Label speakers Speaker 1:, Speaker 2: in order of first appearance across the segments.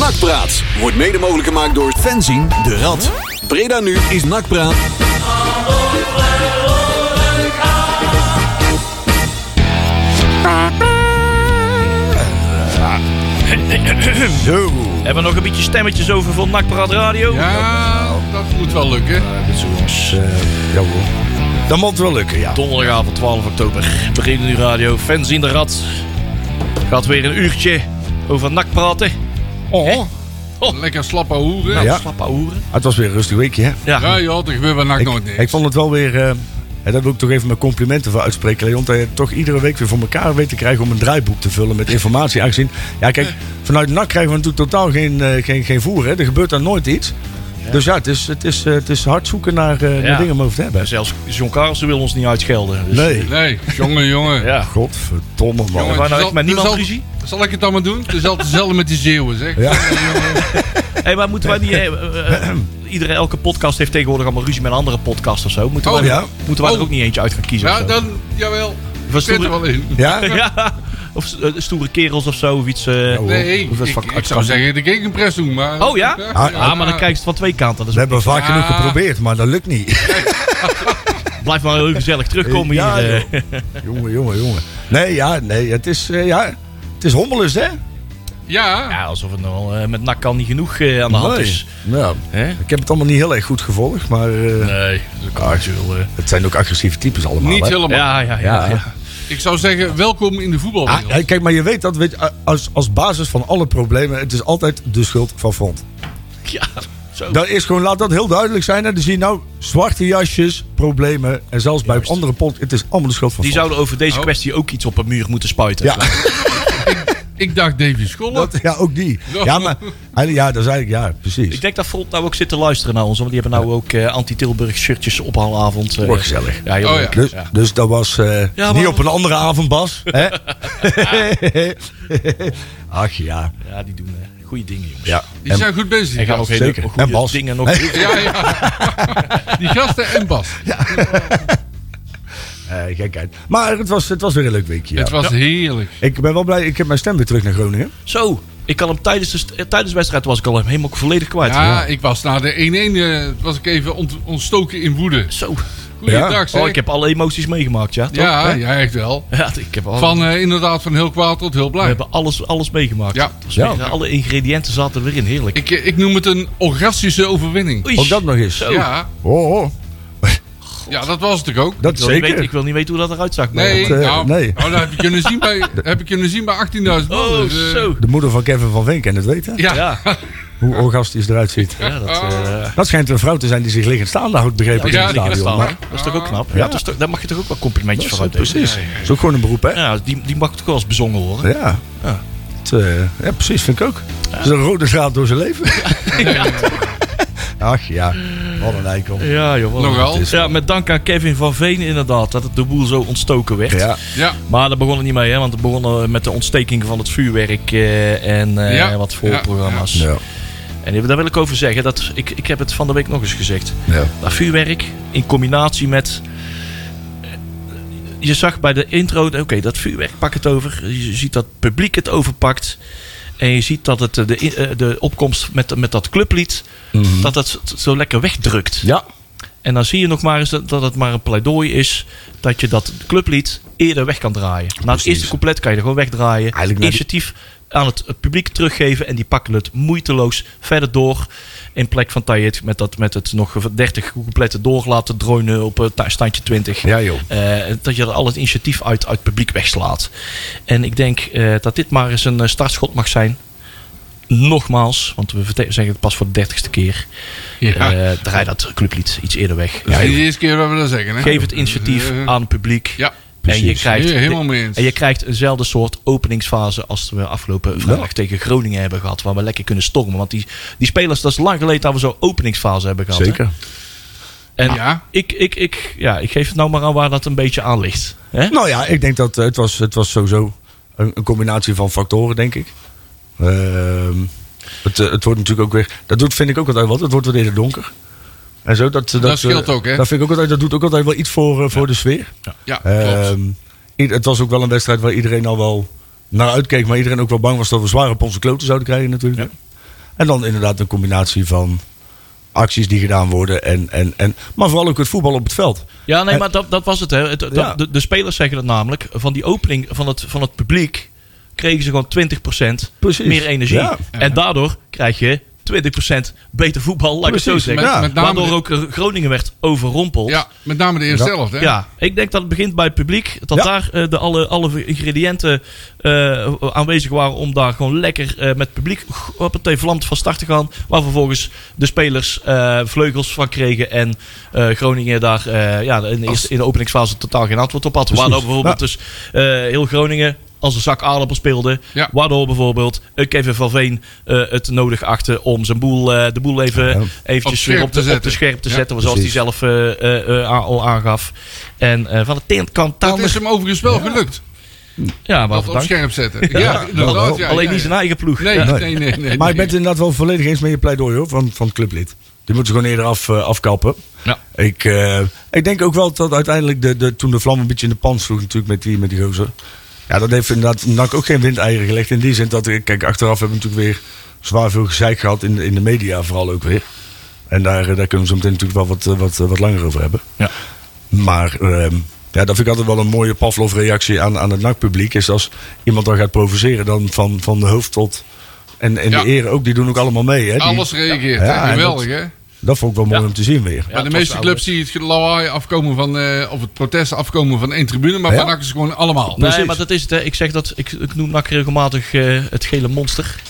Speaker 1: Nakpraat wordt mede mogelijk gemaakt door Fenzien de Rad. Breda nu is Nakpraat.
Speaker 2: Zo.
Speaker 3: Hebben we nog een beetje stemmetjes over voor Nakpraat Radio? dus
Speaker 2: Ja, dat moet wel lukken.
Speaker 4: Dat moet wel lukken, ja.
Speaker 3: eh, Donderdagavond 12 oktober. Beginnen nu radio. Fans in de rad. Gaat weer een uurtje over nak praten.
Speaker 2: Oh. Lekker slappe hoeren.
Speaker 3: Nou,
Speaker 4: Ja.
Speaker 3: slappe hoeren.
Speaker 4: Ah, Het was weer een rustig weekje, hè?
Speaker 2: Ja,
Speaker 3: Ja.
Speaker 2: joh, er gebeurt wel
Speaker 4: Ik,
Speaker 2: nog nooit niks.
Speaker 4: ik vond het wel weer... eh, en daar wil ik toch even mijn complimenten voor uitspreken, Leon. Dat je het toch iedere week weer voor elkaar weet te krijgen om een draaiboek te vullen met informatie. Aangezien, ja kijk, vanuit NAC krijgen we natuurlijk totaal geen, eh, geen, geen voer. Hè? Er gebeurt daar nooit iets. Dus ja, het is, het, is, eh, het is hard zoeken naar, eh, naar
Speaker 3: Ja.
Speaker 4: dingen om over te hebben.
Speaker 3: Zelfs John Carlsen wil ons niet uitschelden. Dus,
Speaker 4: Nee.
Speaker 2: Nee, jongen, jongen.
Speaker 3: Ja.
Speaker 4: Godverdomme, man.
Speaker 2: Jongen,
Speaker 3: Waar nou
Speaker 2: zal-
Speaker 3: echt met niemand
Speaker 2: zal-
Speaker 3: ruzie?
Speaker 2: Zal ik het dan maar doen? Het is altijd hetzelfde met die Zeeuwen, zeg.
Speaker 4: Ja.
Speaker 3: Hey, maar moeten wij niet... eh, eh, eh, iedere, elke podcast heeft tegenwoordig allemaal ruzie met een andere podcast of zo. Moeten
Speaker 2: Oh,
Speaker 3: wij,
Speaker 4: ja.
Speaker 3: moeten wij
Speaker 2: Oh.
Speaker 3: er ook niet eentje uit gaan kiezen? of
Speaker 2: Ja, nou,
Speaker 3: zo?
Speaker 2: dan, jawel.
Speaker 3: Van
Speaker 2: Ik zit er
Speaker 3: stoere,
Speaker 2: wel in.
Speaker 4: Ja?
Speaker 3: ja. Of eh, stoere kerels of zo. Of iets... eh,
Speaker 4: hoor.
Speaker 2: Nee, ik,
Speaker 3: Of dat is
Speaker 2: ik-
Speaker 3: van-
Speaker 2: ik
Speaker 3: uit-
Speaker 2: zou zeggen de gegenpress doen, maar...
Speaker 3: Oh ja?
Speaker 4: Ah,
Speaker 3: Ah, maar dan kijk je het van twee kanten. Dus
Speaker 4: We hebben
Speaker 2: Ja.
Speaker 4: vaak genoeg geprobeerd, maar dat lukt niet.
Speaker 3: blijf maar heel gezellig terugkomen
Speaker 4: Ja,
Speaker 3: hier. eh.
Speaker 4: jongen, jongen, jongen. Nee, ja, nee. Het is, eh, ja, het is hommelus, hè?
Speaker 2: Ja.
Speaker 3: Ja, alsof het nou al, eh, met nak al niet genoeg eh, aan de hand is.
Speaker 4: Nee. Ja,
Speaker 3: Hè?
Speaker 4: ik heb het allemaal niet heel erg goed gevolgd, maar eh,
Speaker 3: Nee, dat
Speaker 4: het zijn ook agressieve types allemaal.
Speaker 2: Niet
Speaker 4: hè?
Speaker 2: helemaal.
Speaker 3: eh. Ja, ja, ja.
Speaker 4: Ja.
Speaker 3: ja.
Speaker 2: Ik zou zeggen, welkom in de
Speaker 4: Ah,
Speaker 2: voetbalwereld.
Speaker 4: ja, kijk, maar je weet dat weet, je, als, als basis van alle problemen, het is altijd de schuld van Font.
Speaker 3: Ja, zo.
Speaker 4: Dat is gewoon, laat dat heel duidelijk zijn. En dan zie je nou zwarte jasjes, problemen. En zelfs bij
Speaker 3: Juist.
Speaker 4: andere pot, het is allemaal de schuld van
Speaker 3: Die
Speaker 4: Font.
Speaker 3: zouden over deze
Speaker 2: Oh.
Speaker 3: kwestie ook iets op een muur moeten spuiten.
Speaker 4: Ja.
Speaker 2: Ik dacht Davy Scholler.
Speaker 4: Dat, ja, ook die. Ja, maar ja, dat is eigenlijk, ja, precies.
Speaker 3: Ik denk dat Front nou ook zit te luisteren naar ons. Want die hebben nou ook eh, anti-Tilburg shirtjes ophaalavond. eh.
Speaker 4: Wordt gezellig.
Speaker 3: Ja, heel
Speaker 2: Oh,
Speaker 3: leuk.
Speaker 2: ja.
Speaker 4: Dus,
Speaker 3: Ja.
Speaker 4: dus dat was eh,
Speaker 3: Ja,
Speaker 4: niet
Speaker 3: maar-
Speaker 4: op een andere avond, Bas. Hè? Ach ja.
Speaker 3: Ja, die doen eh, goede dingen, jongens.
Speaker 4: ja.
Speaker 2: Die
Speaker 4: En,
Speaker 2: zijn goed bezig.
Speaker 3: En gaan
Speaker 2: ja.
Speaker 3: nog hele
Speaker 4: zeker. En
Speaker 3: goede
Speaker 4: Bas.
Speaker 3: dingen nog doen.
Speaker 2: Ja, ja. Die gasten en Bas.
Speaker 4: eh, gekheid. Maar het was, het was weer een leuk weekje. ja.
Speaker 2: Het was heerlijk.
Speaker 4: Ik ben wel blij, ik heb mijn stem weer terug naar Groningen.
Speaker 3: Zo, ik kan hem tijdens de, st- eh, tijdens de wedstrijd was ik al helemaal volledig kwijt.
Speaker 2: Ja, ik was na de 1-1 eh, was ik even ont- ontstoken in woede.
Speaker 3: Zo.
Speaker 2: Goeiedag
Speaker 4: Ja.
Speaker 2: zeg.
Speaker 3: Oh, ik heb alle emoties meegemaakt, ja. toch? Oh.
Speaker 2: ja, ja, echt wel.
Speaker 3: Ja, ik heb al...
Speaker 2: Van eh, inderdaad van heel kwaad tot heel
Speaker 3: We
Speaker 2: blij.
Speaker 3: hebben alles, alles meegemaakt.
Speaker 2: Ja.
Speaker 3: Het was weer, eh, alle ingrediënten zaten er weer in. Heerlijk.
Speaker 2: Ik, eh, ik noem het een orgastische overwinning.
Speaker 3: Oei.
Speaker 4: Ook dat nog eens.
Speaker 3: Zo.
Speaker 2: Ja,
Speaker 4: Oh, oh,
Speaker 2: ja, dat was het toch ook?
Speaker 4: dat
Speaker 3: Ik wil, niet weten,
Speaker 4: zeker.
Speaker 3: ik wil niet weten hoe dat eruit zag. maar-
Speaker 2: Nee,
Speaker 4: dat, eh,
Speaker 2: nou,
Speaker 4: nee.
Speaker 2: nou, dat heb je kunnen zien bij, heb je kunnen zien bij 18.000 man.
Speaker 3: Oh,
Speaker 2: Dus, eh,
Speaker 3: zo.
Speaker 4: De moeder van Kevin van Veen kent het weten.
Speaker 2: Ja, ja.
Speaker 3: Ja, ja.
Speaker 4: Hoe orgastisch eruit ziet.
Speaker 3: dat,
Speaker 2: Ah.
Speaker 3: eh,
Speaker 4: Dat schijnt een vrouw te zijn die zich liggend staande houdt, begrepen
Speaker 2: Ja,
Speaker 4: in het
Speaker 2: die
Speaker 3: dat, is
Speaker 4: stadion.
Speaker 3: dan,
Speaker 4: Maar
Speaker 3: dat is toch ook knap? Ja. dat is toch- daar mag je toch ook wel complimentjes voor
Speaker 4: dat is,
Speaker 3: uitdelen?
Speaker 4: precies. is ook gewoon een beroep, hè? Ja.
Speaker 3: Ja, die, die mag toch wel eens bezongen worden. Ja.
Speaker 4: Het, eh, ja, precies, vind ik ook. Het is een rode draad door zijn leven. Ach ja, wat een eikel.
Speaker 3: Ja, joh. wat een-
Speaker 2: Nogal.
Speaker 3: Ja, met dank aan Kevin van Veen inderdaad, dat het de boel zo ontstoken werd.
Speaker 4: Ja.
Speaker 3: Maar daar begon het niet mee, hè, want het begon eh, met de ontsteking van het vuurwerk eh, en eh,
Speaker 2: Ja.
Speaker 3: wat voorprogramma's.
Speaker 4: Ja.
Speaker 3: En daar wil ik over zeggen, dat, ik, ik heb het van de week nog eens gezegd.
Speaker 4: Ja.
Speaker 3: Dat vuurwerk in combinatie met. eh, Je zag bij de intro, oké, dat vuurwerk pak het over. Je ziet dat het publiek het overpakt. En je ziet dat het eh, de, eh, de opkomst met, met dat clublied, dat dat zo lekker wegdrukt.
Speaker 4: Mhm. ja.
Speaker 3: En dan zie je nog maar eens dat, dat het maar een pleidooi is dat je dat clublied eerder weg kan draaien. Na het
Speaker 4: Precies.
Speaker 3: eerste couplet kan je er gewoon wegdraaien.
Speaker 4: Eigenlijk naar die-
Speaker 3: Initiatief aan het, het publiek teruggeven en die pakken het moeiteloos verder door. In plek van dat je het met, dat, met het nog 30 coupletten door laten dreunen op eh, ta- standje 20.
Speaker 4: Ja, joh.
Speaker 3: Eh, dat je er al het initiatief uit, uit het publiek wegslaat. En ik denk eh, dat dit maar eens een eh, startschot mag zijn. Nogmaals, want we verte- zeggen het pas voor de dertigste keer.
Speaker 2: Ja.
Speaker 3: Eh, draai dat clublied iets iets eerder weg.
Speaker 2: Dat is niet de eerste keer dat we dat zeggen. Hè?
Speaker 3: Geef het initiatief
Speaker 2: Eh,
Speaker 3: aan het publiek.
Speaker 2: Ja,
Speaker 3: en, je
Speaker 4: precies.
Speaker 3: krijgt,
Speaker 2: Hier, helemaal mee eens.
Speaker 3: en je krijgt eenzelfde soort openingsfase als we afgelopen vrijdag tegen Groningen hebben gehad. Waar we lekker kunnen stormen. Want die, die spelers, dat is lang geleden dat we zo'n openingsfase hebben gehad. hè.
Speaker 4: Zeker.
Speaker 3: En
Speaker 2: Ja.
Speaker 3: Ik, ik, ik, ja, ik geef het nou maar aan waar dat een beetje aan ligt. Hè?
Speaker 4: Nou ja, ik denk dat eh, het was, het was sowieso een, een combinatie van factoren, denk ik. Ehm, het, eh, het wordt natuurlijk ook weer. Dat doet, vind ik ook altijd wat. Het wordt wat eerder donker. En zo, dat, dat, eh,
Speaker 2: scheelt ook, hè?
Speaker 4: Dat, vind ik ook altijd, dat doet ook altijd wel iets voor, eh, voor de sfeer.
Speaker 2: ja, klopt.
Speaker 3: Eh,
Speaker 4: Ehm, i- het was ook wel een wedstrijd waar iedereen al wel naar uitkeek. Maar iedereen ook wel bang was dat we zwaar op onze kloten zouden krijgen, natuurlijk. En dan inderdaad een combinatie van acties die gedaan worden. En, en, en, maar vooral ook het voetbal op het veld.
Speaker 3: Ja, nee,
Speaker 4: En-
Speaker 3: maar dat, dat was het. Hè. Het- dat-
Speaker 4: Eh, Ja.
Speaker 3: de, de spelers zeggen dat namelijk. Van die opening van het, van het publiek kregen ze gewoon 20%
Speaker 4: Precies.
Speaker 3: meer energie.
Speaker 4: Ja.
Speaker 3: En daardoor krijg je 20% beter voetbal, laat ik het zo
Speaker 4: Precies.
Speaker 3: zeggen.
Speaker 4: Met-
Speaker 2: met name
Speaker 3: Waardoor
Speaker 2: de-
Speaker 3: ook eh, Groningen werd overrompeld.
Speaker 2: Ja, met name de eerste
Speaker 4: Ja.
Speaker 2: helft. Hè?
Speaker 3: Ja, ik denk dat het begint bij het publiek. Dat
Speaker 4: Ja.
Speaker 3: daar eh, de alle, alle ingrediënten eh, aanwezig waren om daar gewoon lekker eh, met het publiek op het vlamt van start te gaan. Waar vervolgens de spelers eh, vleugels van kregen. En eh, Groningen daar eh, ja, in, de eerste, in de openingsfase totaal geen antwoord op had. Waardoor bijvoorbeeld dus eh, heel Groningen als een zak aardappel speelde.
Speaker 2: Ja.
Speaker 3: Waardoor bijvoorbeeld eh, Kevin van Veen eh, het nodig achtte om zijn boel, eh, de boel even
Speaker 4: Ja.
Speaker 3: eventjes
Speaker 2: Op
Speaker 3: weer
Speaker 2: scherp
Speaker 3: op de,
Speaker 2: te
Speaker 3: op de
Speaker 2: zetten.
Speaker 3: scherp te
Speaker 2: Ja.
Speaker 3: zetten. Zoals hij
Speaker 4: Precies.
Speaker 3: zelf eh, eh, eh, a- al aangaf. En eh, van de tent kan
Speaker 2: Dat
Speaker 3: tanden.
Speaker 2: is hem overigens wel gelukt.
Speaker 3: Ja, maar
Speaker 2: Dat op
Speaker 3: bedankt.
Speaker 2: scherp zetten. Ja, inderdaad. Ja,
Speaker 3: Alleen
Speaker 2: ja,
Speaker 3: niet
Speaker 2: ja.
Speaker 3: zijn eigen ploeg.
Speaker 2: Nee,
Speaker 3: Ja.
Speaker 2: nee, nee, nee, nee.
Speaker 4: Maar ik ben het inderdaad wel volledig eens met je pleidooi hoor, van, van het clublid. Die moeten ze gewoon eerder af, eh, afkappen.
Speaker 3: Ja.
Speaker 4: Ik, eh, ik denk ook wel dat uiteindelijk de, de, toen de vlam een beetje in de pan sloeg natuurlijk met die, met die gozer. Ja, dat heeft inderdaad NAC ook geen windeieren gelegd. In die zin dat, eh, kijk, achteraf hebben we natuurlijk weer zwaar veel gezeik gehad in, de- in de media vooral ook weer. En daar, eh, daar kunnen we zo meteen natuurlijk wel wat, eh, wat, eh, wat langer over hebben.
Speaker 3: Ja.
Speaker 4: Maar ehm, ja, dat vind ik altijd wel een mooie Pavlov-reactie aan, aan het NAC-publiek. Is als iemand dan gaat provoceren, dan van, van de hoofd tot... En, en
Speaker 2: Ja.
Speaker 4: de heren ook, die doen ook allemaal mee. Hè? Die-
Speaker 2: Alles reageert.
Speaker 4: Ja,
Speaker 2: hè.
Speaker 4: en
Speaker 2: Geweldig,
Speaker 4: dat-
Speaker 2: hè?
Speaker 4: dat vond ik wel mooi
Speaker 3: Ja.
Speaker 4: om te zien weer.
Speaker 3: Ja,
Speaker 2: Bij de
Speaker 3: het was
Speaker 2: meeste
Speaker 3: wel,
Speaker 2: clubs zie je het lawaai afkomen van, eh, of het protest afkomen van één tribune, maar
Speaker 4: Ja.
Speaker 2: van NAC is het gewoon allemaal.
Speaker 3: Nee, maar dat is het. Hè. Ik zeg dat, ik, ik noem NAC regelmatig eh, het gele monster.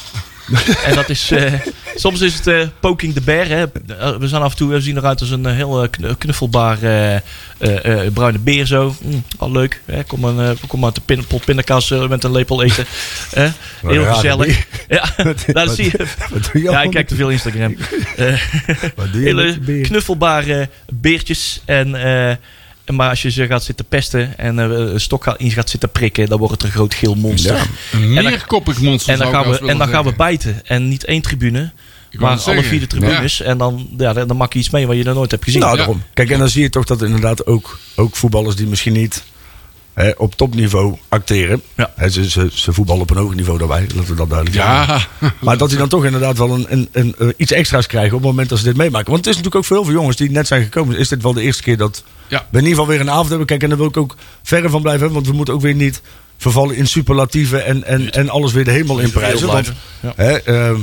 Speaker 3: en dat is, eh, soms is het eh, poking the bear. Hè. Eh, We zijn af en toe, we zien eruit als een eh, heel eh, knu- knuffelbaar eh, eh, eh, bruine beer zo. Mm, al leuk. Hè. Kom, een, eh, kom maar de pin, pot pindakaas eh, met een lepel eten. Eh,
Speaker 4: Wat een
Speaker 3: heel
Speaker 4: rare
Speaker 3: gezellig.
Speaker 4: beer.
Speaker 3: Ja, Nou, dat zie je.
Speaker 4: Wat doe je
Speaker 3: Ja, ik
Speaker 4: allemaal
Speaker 3: kijk te veel Instagram. Eh,
Speaker 4: met- wat doe je met
Speaker 3: hele
Speaker 4: die beer?
Speaker 3: knuffelbare beertjes. En, eh, en maar als je ze gaat zitten pesten en eh, een stok gaat- in gaat zitten prikken, dan wordt het een groot geel monster.
Speaker 4: Ja.
Speaker 2: Een
Speaker 3: En dan-
Speaker 2: meerkoppig monster
Speaker 3: En
Speaker 2: zou
Speaker 3: dan,
Speaker 2: ik
Speaker 3: gaan we,
Speaker 2: haast
Speaker 3: en dan gaan we
Speaker 2: willen
Speaker 3: bijten. En niet één tribune,
Speaker 2: zeggen.
Speaker 3: maar
Speaker 2: Ik wou
Speaker 3: alle
Speaker 2: het zeggen.
Speaker 3: vier de tribunes. En dan, ja, dan dan maak je iets mee wat je nog nooit hebt gezien.
Speaker 4: Nou,
Speaker 2: Ja.
Speaker 4: daarom. Kijk, en dan zie je toch dat inderdaad ook, ook voetballers die misschien niet hè, op topniveau acteren.
Speaker 3: Ja.
Speaker 4: Hè, ze, ze, ze voetballen op een hoger niveau dan wij, laten we dat duidelijk
Speaker 2: Ja.
Speaker 4: zeggen.
Speaker 2: Ja.
Speaker 4: Maar dat die dan toch inderdaad wel een, een, een, eh, iets extra's krijgen op het moment dat ze dit meemaken. Want het is natuurlijk ook voor heel veel jongens die net zijn gekomen. Is dit wel de eerste keer dat
Speaker 2: Ja.
Speaker 4: we in ieder geval weer een avond hebben. Kijk, en daar wil ik ook verre van blijven. Want we moeten ook weer niet vervallen in superlatieven en, en, en alles weer de hemel in prijzen. Want, hè, ehm,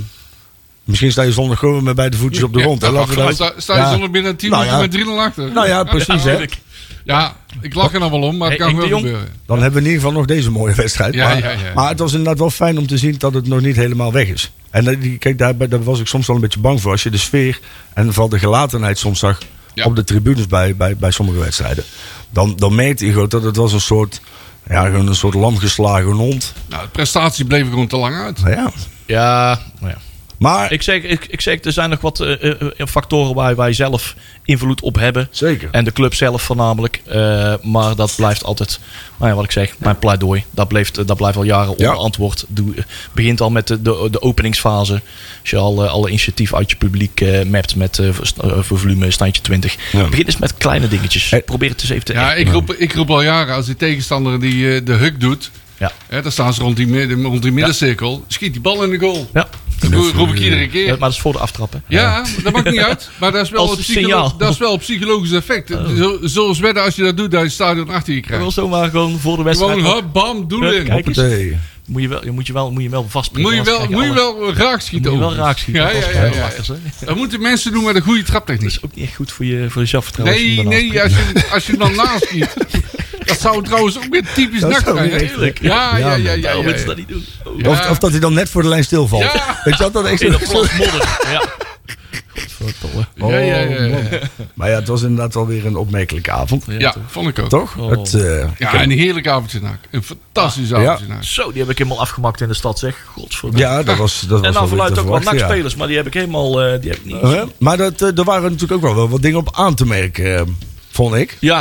Speaker 4: misschien sta je zondag gewoon met beide voetjes op de
Speaker 2: Ja,
Speaker 4: grond. hè.
Speaker 2: nou,
Speaker 4: Laten we dat-
Speaker 2: sta, sta je
Speaker 4: Ja.
Speaker 2: zonder binnen 10
Speaker 4: Nou
Speaker 2: minuten
Speaker 4: ja.
Speaker 2: met 3 0 achter?
Speaker 4: Nou ja, precies hè.
Speaker 2: Ja, ik lach er nou wel om, maar het
Speaker 3: Hey,
Speaker 2: kan
Speaker 3: ik
Speaker 2: wel
Speaker 3: de Jong-
Speaker 2: gebeuren.
Speaker 4: Dan hebben we in ieder geval nog deze mooie wedstrijd.
Speaker 2: Ja,
Speaker 4: maar,
Speaker 2: ja, ja.
Speaker 4: maar het was inderdaad wel fijn om te zien dat het nog niet helemaal weg is. En dat- die- kijk, daar, daar was ik soms wel een beetje bang voor. Als je de sfeer en vooral de gelatenheid soms zag
Speaker 2: Ja.
Speaker 4: op de tribunes bij, bij, bij sommige wedstrijden. Dan, dan merkte je gewoon dat het was een soort, ja, gewoon een soort lamgeslagen hond.
Speaker 2: Nou, de prestatie bleef gewoon te lang uit.
Speaker 4: Nou ja.
Speaker 3: Ja, nou ja.
Speaker 4: Maar,
Speaker 3: Ik zeg, ik, ik zeg, er zijn nog wat eh, eh, factoren waar wij zelf invloed op hebben.
Speaker 4: zeker.
Speaker 3: En de club zelf voornamelijk. Eh, maar dat blijft altijd, nou ja, wat ik zeg, mijn pleidooi. Dat, bleef, dat blijft al jaren
Speaker 4: Ja.
Speaker 3: onbeantwoord. Doe- eh, begint al met de, de, de openingsfase. Als je al eh, alle initiatief uit je publiek eh, mapt met eh, voor, st- eh, voor volume standje 20.
Speaker 4: Ja. Eh,
Speaker 3: Begin eens met kleine dingetjes.
Speaker 4: Hey.
Speaker 3: Probeer het eens even te...
Speaker 2: Ja, ik roep, ik roep al jaren, als die tegenstander die eh, de huk doet,
Speaker 3: Ja.
Speaker 2: hè, dan staan ze rond die, midden- rond die middencirkel, schiet die bal in de goal.
Speaker 3: Ja.
Speaker 2: Dat roep- roep ik iedere
Speaker 3: Ja,
Speaker 2: keer.
Speaker 3: maar dat is voor de aftrappen.
Speaker 2: Ja, dat maakt niet uit. Maar dat is wel,
Speaker 3: Als
Speaker 2: een,
Speaker 3: signaal.
Speaker 2: psycholo- dat is wel een psychologisch effect. Zo- Zoals wedden, als je dat doet, dat je het stadion achter je
Speaker 3: Je wil
Speaker 2: krijgt.
Speaker 3: zomaar gewoon voor de wedstrijd...
Speaker 2: Gewoon hop, bam, doel
Speaker 3: Hup,
Speaker 2: in.
Speaker 3: kijk eens.
Speaker 4: Hoppatee.
Speaker 3: Moet je wel, je moet je wel, moet je wel vastpikken.
Speaker 2: Moet je
Speaker 3: anders
Speaker 2: wel,
Speaker 3: krijg
Speaker 2: moet je wel
Speaker 3: alle-
Speaker 2: raak schieten.
Speaker 3: moet je wel
Speaker 2: overigens.
Speaker 3: raak schieten.
Speaker 2: Ja,
Speaker 3: anders
Speaker 2: ja, ja,
Speaker 3: krijg je
Speaker 2: ja.
Speaker 3: lakkers, hè.
Speaker 2: Dat moeten mensen doen met een goede
Speaker 3: Dat
Speaker 2: traptechniek.
Speaker 3: is ook niet echt goed voor je, voor je zelfvertrouwen. als je
Speaker 2: Nee,
Speaker 3: hem daarnaast
Speaker 2: nee, als je, als je hem dan naast schiet. Dat zou trouwens ook weer typisch
Speaker 4: Dat
Speaker 2: nacht
Speaker 4: zou
Speaker 2: zijn.
Speaker 4: weer
Speaker 2: hè?
Speaker 4: echt- Tuurlijk.
Speaker 2: Ja, ja, ja. ja, ja,
Speaker 3: Waarom
Speaker 2: ja,
Speaker 3: mensen dat niet doen? Oh.
Speaker 2: Ja.
Speaker 4: Of, of dat hij dan net voor de lijn stilvalt.
Speaker 2: Ja.
Speaker 4: Weet je wat dat echt
Speaker 3: In
Speaker 4: zo-
Speaker 3: een plas modder. Ja. Godverdomme.
Speaker 2: Ja, ja, ja, ja.
Speaker 4: Oh, man. Maar ja, het was inderdaad wel weer een opmerkelijke avond.
Speaker 2: Ja, vond ik ook.
Speaker 4: Toch?
Speaker 3: Oh.
Speaker 4: Het, eh, ik
Speaker 2: Ja,
Speaker 4: heb-
Speaker 2: een heerlijk avondje naak. Een fantastisch avondje naak.
Speaker 3: Zo, die heb ik helemaal afgemakt in de stad, zeg. Godverdomme.
Speaker 4: ja, dat was, dat was
Speaker 3: en
Speaker 4: wel
Speaker 3: dan
Speaker 4: weer
Speaker 3: vanuit
Speaker 4: te
Speaker 3: ook wel
Speaker 4: verwachten, ja.
Speaker 3: nachtspelers, maar die heb ik helemaal... eh, die heb ik niet.
Speaker 4: Hè? Maar dat, eh, er waren natuurlijk ook wel, wel wat dingen op aan te merken, eh, vond ik. Nou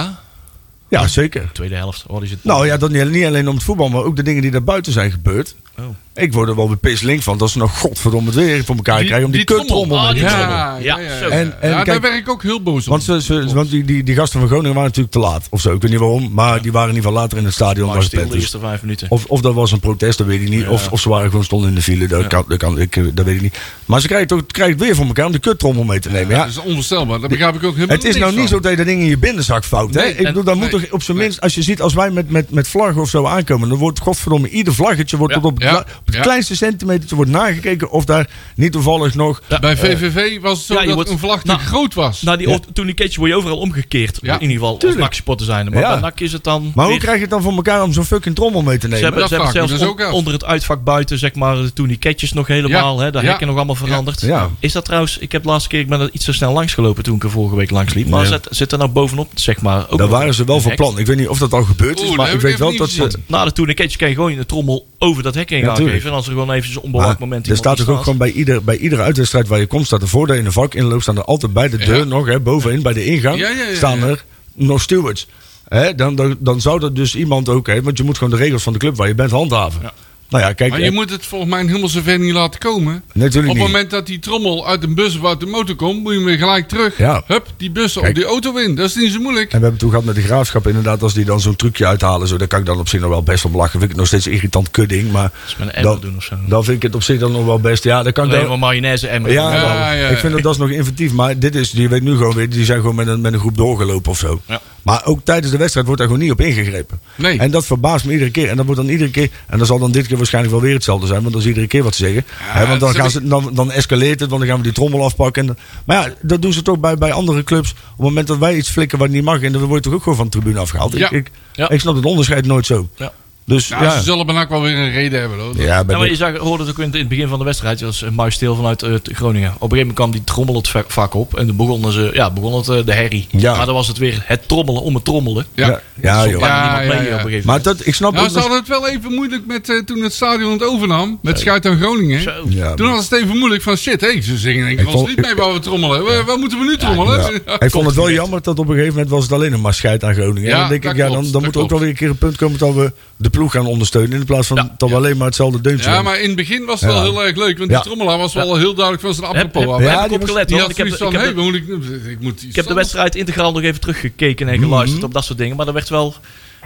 Speaker 3: Ja,
Speaker 4: Ja, zeker.
Speaker 3: tweede helft. Wat is het?
Speaker 4: Nou ja, dat niet, niet alleen om het voetbal, maar ook de dingen die daar buiten zijn gebeurd.
Speaker 3: Oh.
Speaker 4: Ik Ik word er wel bepisling link van dat ze nog godverdomme het weer voor elkaar krijgen om die,
Speaker 2: die
Speaker 4: kuttrommel
Speaker 2: trommel.
Speaker 4: met die
Speaker 2: ja,
Speaker 4: trommel.
Speaker 2: ja, ja,
Speaker 3: Ja,
Speaker 2: ja.
Speaker 3: zo.
Speaker 4: En- en
Speaker 2: Ja, daar
Speaker 4: kijk-
Speaker 2: werd ik ook heel boos om.
Speaker 4: Want, ze, ze- want die, die, die gasten van Groningen waren natuurlijk te laat of zo. Ik weet niet waarom, maar die waren in ieder geval later in het stadion. dan
Speaker 3: Maar
Speaker 4: was het
Speaker 3: stil de
Speaker 4: pet. Dus
Speaker 3: eerste vijf minuten.
Speaker 4: Of, of dat was een protest, dat weet ik niet. Of, of ze waren gewoon stonden in de file, dat, kan, dat, kan, ik, eh, dat weet ik niet. Maar ze krijgen, toch, krijgen het weer voor elkaar om de kuttrommel mee te nemen. Ja,
Speaker 2: Dat is onvoorstelbaar. Daar begrijp ik ook helemaal
Speaker 4: het is nou
Speaker 2: niks
Speaker 4: niet
Speaker 2: van.
Speaker 4: zo dat je dat ding in je binnenzak fout. hè?
Speaker 3: Nee,
Speaker 4: ik bedoel, dan moet
Speaker 2: nee,
Speaker 4: toch op zijn minst, als je ziet, als wij met, met, met vlaggen of zo aankomen, dan wordt godverdomme ieder vlaggetje wordt
Speaker 3: Ja,
Speaker 4: tot op, het
Speaker 2: ja,
Speaker 4: la- op het
Speaker 2: ja.
Speaker 4: kleinste centimeter wordt nagekeken of daar niet toevallig nog.
Speaker 2: Bij VVV was het zo
Speaker 3: ja, je
Speaker 2: dat
Speaker 3: wordt-
Speaker 2: een vlag te
Speaker 3: nou,
Speaker 2: groot was.
Speaker 3: Nou, die, oort- Toen die keertje word je overal omgekeerd.
Speaker 2: Ja.
Speaker 3: In ieder geval, als
Speaker 4: Tuurlijk.
Speaker 3: NAC-supporter zijn. Maar
Speaker 4: Ja.
Speaker 3: bij NAC is het dan...
Speaker 4: Maar hoe
Speaker 3: weer-
Speaker 4: krijg je het dan voor elkaar om zo'n fucking trommel mee te
Speaker 3: ze
Speaker 4: nemen?
Speaker 3: hebben,
Speaker 2: dat
Speaker 3: ze hebben
Speaker 2: vraag ik me
Speaker 3: zelfs
Speaker 2: dus
Speaker 3: on-
Speaker 2: ook af.
Speaker 3: onder het uitvak buiten, zeg maar, toen die ketjes nog helemaal,
Speaker 2: Ja.
Speaker 3: hè, de
Speaker 2: Ja.
Speaker 3: hekken nog allemaal veranderd.
Speaker 4: Ja.
Speaker 3: Is dat trouwens, ik heb de laatste keer, ik ben er iets te snel langs gelopen toen ik er vorige week langs liep. Maar
Speaker 4: Ja.
Speaker 3: zit, zit er nou bovenop, zeg maar, ook
Speaker 4: Daar
Speaker 3: nog
Speaker 4: waren ze wel
Speaker 3: een
Speaker 4: van
Speaker 3: hek?
Speaker 4: plan. Ik weet niet of dat al gebeurd is,
Speaker 2: Oeh, dat
Speaker 4: maar ik
Speaker 2: heb
Speaker 4: weet
Speaker 2: ik
Speaker 4: wel
Speaker 2: even
Speaker 4: dat
Speaker 2: niet
Speaker 4: ze.
Speaker 2: gezien.
Speaker 3: Na de toen een ketje kan je gewoon de trommel over dat hek heen
Speaker 4: Ja,
Speaker 3: gaan
Speaker 4: tuurlijk.
Speaker 3: geven. En als er gewoon even zo'n
Speaker 4: Maar
Speaker 3: onbelangrijk moment
Speaker 4: er
Speaker 3: iemand
Speaker 4: staat
Speaker 3: niet
Speaker 4: toch ook gewoon bij, ieder, bij iedere uitwedstrijd waar je komt, staat er voordat je een vak inloopt, staan er altijd bij de deur
Speaker 2: Ja.
Speaker 4: nog, hè, bovenin bij de ingang,
Speaker 2: Ja, ja, ja,
Speaker 4: staan
Speaker 2: ja.
Speaker 4: er nog stewards. Hè, dan, dan, dan zou dat dus iemand ook, hè, want je moet gewoon de regels van de club waar je bent handhaven. Nou ja, kijk,
Speaker 2: Maar je
Speaker 4: hè,
Speaker 2: moet het volgens mij helemaal zover niet laten komen. Op
Speaker 4: natuurlijk
Speaker 2: het
Speaker 4: niet.
Speaker 2: moment dat die trommel uit een bus of uit de motor komt, moet je hem weer gelijk terug.
Speaker 4: Ja.
Speaker 2: Hup, die bus op
Speaker 4: Kijk.
Speaker 2: die auto in. Dat is niet zo moeilijk.
Speaker 4: En we hebben toen gehad met de graafschap, inderdaad, als die dan zo'n trucje uithalen, zo, daar kan ik dan op zich nog wel best op lachen. Vind ik het nog steeds een irritant kudding, maar
Speaker 3: is met een emmer
Speaker 4: dan,
Speaker 3: doen of zo.
Speaker 4: dan vind ik het op zich dan nog wel best. Ja, dan kan ik
Speaker 3: Alleen
Speaker 4: dan,
Speaker 3: maar mayonaise emmer.
Speaker 4: Ja,
Speaker 2: Ja,
Speaker 4: wel.
Speaker 2: ja, ja.
Speaker 4: ik vind dat dat is nog inventief. Maar dit is, je weet nu gewoon weer, die zijn gewoon met een, met een groep doorgelopen of zo.
Speaker 3: Ja.
Speaker 4: Maar ook tijdens de wedstrijd wordt daar gewoon niet op ingegrepen.
Speaker 2: Nee.
Speaker 4: En dat verbaast me iedere keer. En dat wordt dan iedere keer, en dat zal dan dit keer waarschijnlijk wel weer hetzelfde zijn, want dat is iedere keer wat ze zeggen. Hè, want dan,
Speaker 2: dat
Speaker 4: gaan
Speaker 2: is-
Speaker 4: ze, dan, dan escaleert het, want dan gaan we die trommel afpakken. En, dan- maar ja, dat doen ze toch bij, bij andere clubs. Op het moment dat wij iets flikken wat niet mag, en dan word je toch ook gewoon van de tribune afgehaald.
Speaker 2: Ja.
Speaker 4: Ik, ik,
Speaker 3: Ja.
Speaker 4: ik snap het onderscheid nooit zo.
Speaker 3: Ja.
Speaker 4: Dus
Speaker 2: Nou,
Speaker 4: ja.
Speaker 2: ze zullen bijna ook wel weer een reden hebben. Hoor.
Speaker 4: Ja, bij
Speaker 3: Ja, maar
Speaker 4: de-
Speaker 3: je zag, hoorde het ook in het, in het begin van de wedstrijd. Dat was een muisstil vanuit eh, Groningen. Op een gegeven moment kwam die trommel het va- vak op. En toen begonnen ze, ja, begon het eh, de herrie.
Speaker 4: Ja.
Speaker 3: Maar dan was het weer het trommelen om het trommelen.
Speaker 2: Ja.
Speaker 4: ja, ja, joh.
Speaker 3: Waar
Speaker 2: Ja,
Speaker 3: niemand
Speaker 2: ja,
Speaker 3: mee
Speaker 2: ja.
Speaker 3: op een gegeven
Speaker 4: Maar
Speaker 3: moment.
Speaker 4: dat, ik snap
Speaker 2: Nou,
Speaker 4: het.
Speaker 2: ze hadden het wel even moeilijk met, eh, toen het stadion het overnam. Met Schuit aan Groningen.
Speaker 3: Zo.
Speaker 4: Ja,
Speaker 2: Toen was het even moeilijk van shit, hé, ze zingen denk ik
Speaker 4: Ik
Speaker 2: ons
Speaker 4: vond-
Speaker 2: niet mee waar we trommelen. Waar, waar moeten we nu trommelen?
Speaker 4: Ja. Ik vond het wel jammer dat op een gegeven moment was het alleen een maar scheid aan Groningen.
Speaker 2: Ja,
Speaker 4: en dan denk ik,
Speaker 2: dat
Speaker 4: ja,
Speaker 2: klopt,
Speaker 4: dan, dan
Speaker 2: dat
Speaker 4: moet er ook
Speaker 2: klopt.
Speaker 4: wel weer een keer een punt komen dat we de ploeg gaan ondersteunen. In plaats van
Speaker 3: Ja.
Speaker 4: dat we alleen maar hetzelfde deuntje
Speaker 2: Ja,
Speaker 4: doen.
Speaker 2: maar in het begin was het wel
Speaker 4: Ja.
Speaker 2: heel erg leuk. Want
Speaker 4: Ja.
Speaker 2: die trommelaar was wel heel duidelijk van zijn
Speaker 3: Heb,
Speaker 2: apropos.
Speaker 3: heb,
Speaker 2: af.
Speaker 4: Ja,
Speaker 3: heb ik
Speaker 4: die
Speaker 3: op
Speaker 4: was-
Speaker 3: gelet.
Speaker 2: Die
Speaker 3: hoor.
Speaker 2: had
Speaker 3: Ik heb,
Speaker 2: zoiets
Speaker 3: ik
Speaker 2: van,
Speaker 3: heb
Speaker 2: hé,
Speaker 3: de-
Speaker 2: we moeten- ik moet iets
Speaker 3: Ik heb de
Speaker 2: anders.
Speaker 3: wedstrijd integraal nog even teruggekeken en geluisterd op dat soort dingen. Maar daar werd, wel,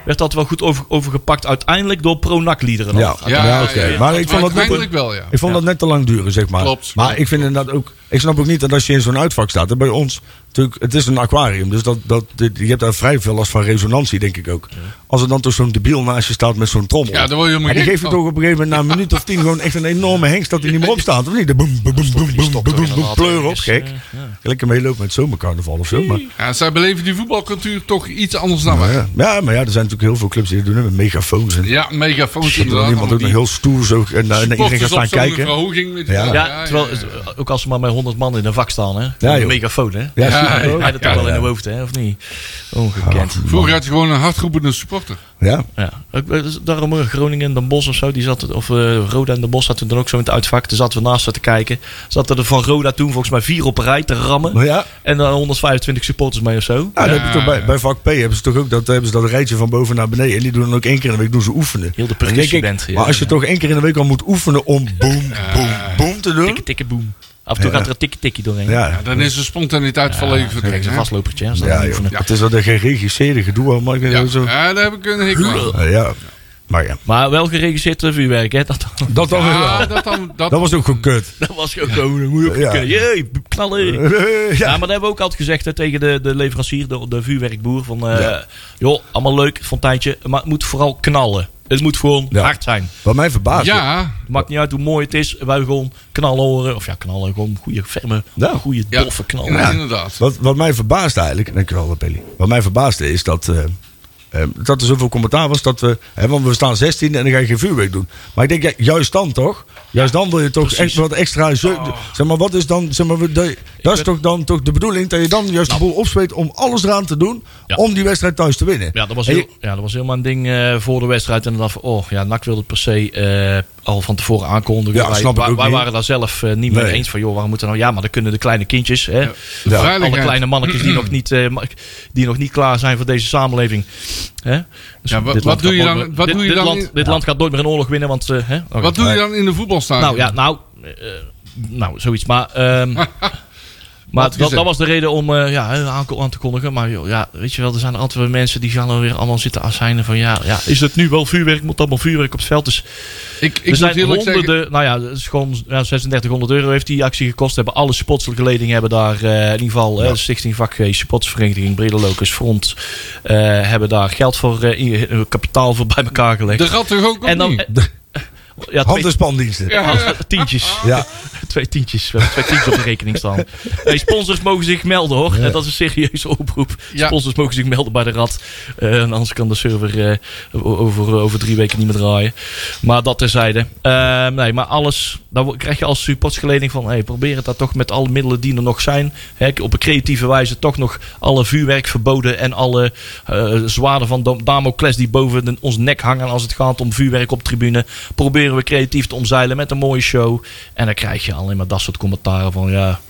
Speaker 3: werd dat wel goed over, overgepakt uiteindelijk door pro-NAC-liederen.
Speaker 4: Ja.
Speaker 3: Ja.
Speaker 4: Ja, oké. Maar ik vond dat-
Speaker 2: uiteindelijk wel, ja.
Speaker 4: Ik vond dat net te lang duren, zeg maar.
Speaker 2: Klopt.
Speaker 4: maar ik vind inderdaad ook. Ik snap ook niet dat als je in zo'n uitvak staat. hè, Bij ons, natuurlijk, het is een aquarium. Dus dat, dat, dit- je hebt daar vrij veel last van resonantie, denk ik ook. Als er dan toch zo'n debiel naast je staat met zo'n trommel.
Speaker 2: Ja, dan word je helemaal
Speaker 4: en die
Speaker 2: gek
Speaker 4: geeft het
Speaker 2: van.
Speaker 4: toch op een gegeven moment na een minuut of tien gewoon echt een enorme hengst dat hij niet meer opstaat. Of niet? De boem, boem, boem, boem, boem, boem, boem, boem, pleur op, gek. Lekker meelopen met zomercarnaval of zo. Maar
Speaker 2: Ja, zij beleven die voetbalcultuur toch iets anders dan wij.
Speaker 4: Ja, ja, maar ja, er zijn natuurlijk heel veel clubs die dat doen hè, met megafoons. En
Speaker 2: Ja, megafoons
Speaker 4: shit, dan
Speaker 2: inderdaad.
Speaker 4: iemand ook nog heel stoer zo en naar naar iedereen
Speaker 2: supporters
Speaker 4: gaat
Speaker 2: op
Speaker 4: staan
Speaker 2: zo'n
Speaker 4: kijken.
Speaker 2: verhoging. weet je
Speaker 4: Ja.
Speaker 2: wel.
Speaker 3: Ja, terwijl, ook als ze maar met 100 man in een vak staan, hè? Met
Speaker 4: joh.
Speaker 3: een megafoon, hè?
Speaker 4: Ja,
Speaker 2: Ja,
Speaker 4: super,
Speaker 2: ja,
Speaker 4: hoor.
Speaker 3: Hij dat toch
Speaker 4: Ja,
Speaker 3: wel in
Speaker 4: ja.
Speaker 3: de hoofd, hè? Of niet? Ongekend.
Speaker 2: Vroeger had je gewoon een hardroepende supporter.
Speaker 4: Ja,
Speaker 3: Ja, ook, eh, dus daarom eh, Groningen en Den Bos of zo, die zat, of eh, Roda en Den Bos zaten dan ook zo in het uitvak. Toen zaten we naast ze te kijken. Zaten er van Roda toen volgens mij vier op een rij te rammen.
Speaker 4: maar Oh ja.
Speaker 3: En dan 125 supporters mee of zo.
Speaker 4: Nou, dan heb je toch bij, bij vak P hebben ze toch ook dat, hebben ze dat rijtje van boven naar beneden. En die doen dan ook één keer in de week doen ze oefenen.
Speaker 3: Heel de
Speaker 4: Dan denk ik,
Speaker 3: percussieband, ja.
Speaker 4: Maar als je toch één keer in de week al moet oefenen om boom, boom, boom te doen.
Speaker 3: Tikke tikke boem. Af en toe
Speaker 4: Ja.
Speaker 3: gaat er een tikke tikkie doorheen.
Speaker 4: Ja,
Speaker 2: Ja, dan is de spontaniteit volledig
Speaker 3: Dan krijg je
Speaker 2: verdwenen.
Speaker 3: een
Speaker 2: hè?
Speaker 3: vastlopertje. hè, als dat
Speaker 4: ja,
Speaker 3: niet
Speaker 4: joh.
Speaker 3: oefenen.
Speaker 4: het is wel een geregisseerde gedoe allemaal.
Speaker 2: Ja,
Speaker 4: Ja. Zo.
Speaker 2: ja, daar heb ik een hekel aan.
Speaker 4: Ja, ja. Maar ja,
Speaker 3: Maar wel geregisseerd eh, vuurwerk, hè? Dat,
Speaker 4: dat dan weer wel.
Speaker 2: Ja, dat dan, dat,
Speaker 4: Dat was ook gewoon kut.
Speaker 3: dat was ook gewoon een moeilijk.
Speaker 4: Ja.
Speaker 3: Jee, knallen. Ja,
Speaker 4: Ja,
Speaker 3: maar dat hebben we ook altijd gezegd hè, tegen de, de leverancier, de, de vuurwerkboer. Van, eh,
Speaker 4: Ja.
Speaker 3: joh, allemaal leuk, fonteintje. Maar het moet vooral knallen. Het moet gewoon
Speaker 4: Ja.
Speaker 3: hard zijn.
Speaker 4: wat mij verbaast.
Speaker 2: ja,
Speaker 3: Het maakt niet uit hoe mooi het is. Wij willen gewoon knallen horen. Of ja, knallen. Gewoon goede, ferme,
Speaker 4: Ja.
Speaker 3: goede,
Speaker 2: Ja.
Speaker 3: doffe knallen.
Speaker 2: ja,
Speaker 3: Ja.
Speaker 2: inderdaad.
Speaker 4: Wat, wat mij verbaast eigenlijk, dankjewel eh, Pelly. Wat mij verbaasde is dat, eh, eh, dat er zoveel commentaar was dat we, hè, want we staan 16 en dan ga je geen vuurwerk doen. Maar ik denk, ja, juist dan toch? Juist dan wil je toch
Speaker 3: Precies.
Speaker 4: echt wat extra. zeu- Zeg maar, wat is dan, zeg maar, we- de- dat is
Speaker 3: ben-
Speaker 4: toch dan toch de bedoeling dat je dan juist de boel opzweet om alles eraan te doen
Speaker 3: Ja.
Speaker 4: om die wedstrijd thuis te winnen.
Speaker 3: dat was
Speaker 4: En
Speaker 3: heel,
Speaker 4: je-
Speaker 3: ja, dat was helemaal een ding eh, voor de wedstrijd. En dan dacht ik, oh ja, NAC wilde het per se eh, al van tevoren aankondigen.
Speaker 4: Ja,
Speaker 3: wij
Speaker 4: snap ik
Speaker 3: wij-
Speaker 4: ook
Speaker 3: wij
Speaker 4: niet.
Speaker 3: waren daar zelf eh, niet mee
Speaker 4: Nee.
Speaker 3: eens van, joh, waarom moeten nou? Ja, maar dan kunnen de kleine kindjes, hè, alle
Speaker 2: Veiligheid.
Speaker 3: kleine mannetjes die nog niet, eh, ma- die nog niet klaar zijn voor deze samenleving. Hè? Dus
Speaker 2: Ja, wa-
Speaker 3: dit
Speaker 2: wat
Speaker 3: land
Speaker 2: doe
Speaker 3: gaat
Speaker 2: je
Speaker 3: nooit
Speaker 2: dan-
Speaker 3: meer-
Speaker 2: wat
Speaker 3: dit-
Speaker 2: doe je
Speaker 3: dit
Speaker 2: dan
Speaker 3: land-
Speaker 2: in-
Speaker 3: Dit land gaat nooit meer een oorlog winnen, want... eh, hè? oh,
Speaker 2: Wat doe je dan in de voetbalstadion?
Speaker 3: nou ja, nou, eh, eh, nou zoiets. Maar, ehm, maar
Speaker 2: Wat
Speaker 3: dat,
Speaker 2: gezegd.
Speaker 3: dat was de reden om eh, ja, aan, aan te kondigen. Maar joh, ja, weet je wel, er zijn altijd wel mensen die gaan dan weer allemaal zitten azijnen van ja, ja, is het nu wel vuurwerk? Moet allemaal vuurwerk op het veld? Dus
Speaker 2: ik,
Speaker 3: er
Speaker 2: ik moet
Speaker 3: zijn
Speaker 2: eerlijk
Speaker 3: honderden,
Speaker 2: zeggen,
Speaker 3: nou ja, het is gewoon ja, 3600 euro heeft die actie gekost. Hebben alle sportselijke ledingen hebben daar eh, in ieder geval eh, de Stichting Vakgeest, Sportsvereniging Brede Locus Front eh, hebben daar geld voor, eh, in- eh, kapitaal voor bij elkaar gelegd.
Speaker 2: de rat toch ook
Speaker 3: en dan,
Speaker 2: niet?
Speaker 3: eh, ja, twee-
Speaker 4: Hand- en spandiensten. Ja.
Speaker 3: tientjes.
Speaker 4: Ja.
Speaker 3: Twee tientjes. We hebben twee tientjes op de rekening staan. Hey, sponsors mogen zich melden hoor. Eh, Dat is een serieuze oproep.
Speaker 2: Ja.
Speaker 3: Sponsors dus mogen zich melden bij de RAD. Eh, en anders kan de server eh, o- over, over drie weken niet meer draaien. Maar dat terzijde. Eh, nee, maar alles. Dan wo- krijg je als supportsgeleding van... Hey, probeer het daar toch met alle middelen die er nog zijn. Hè, op een creatieve wijze toch nog alle vuurwerk verboden. En alle eh, zwaarden van Dam- Damocles die boven de- ons nek hangen. Als het gaat om vuurwerk op tribune. Proberen we creatief te omzeilen met een mooie show. En dan krijg je alleen maar dat soort commentaren van... Ja,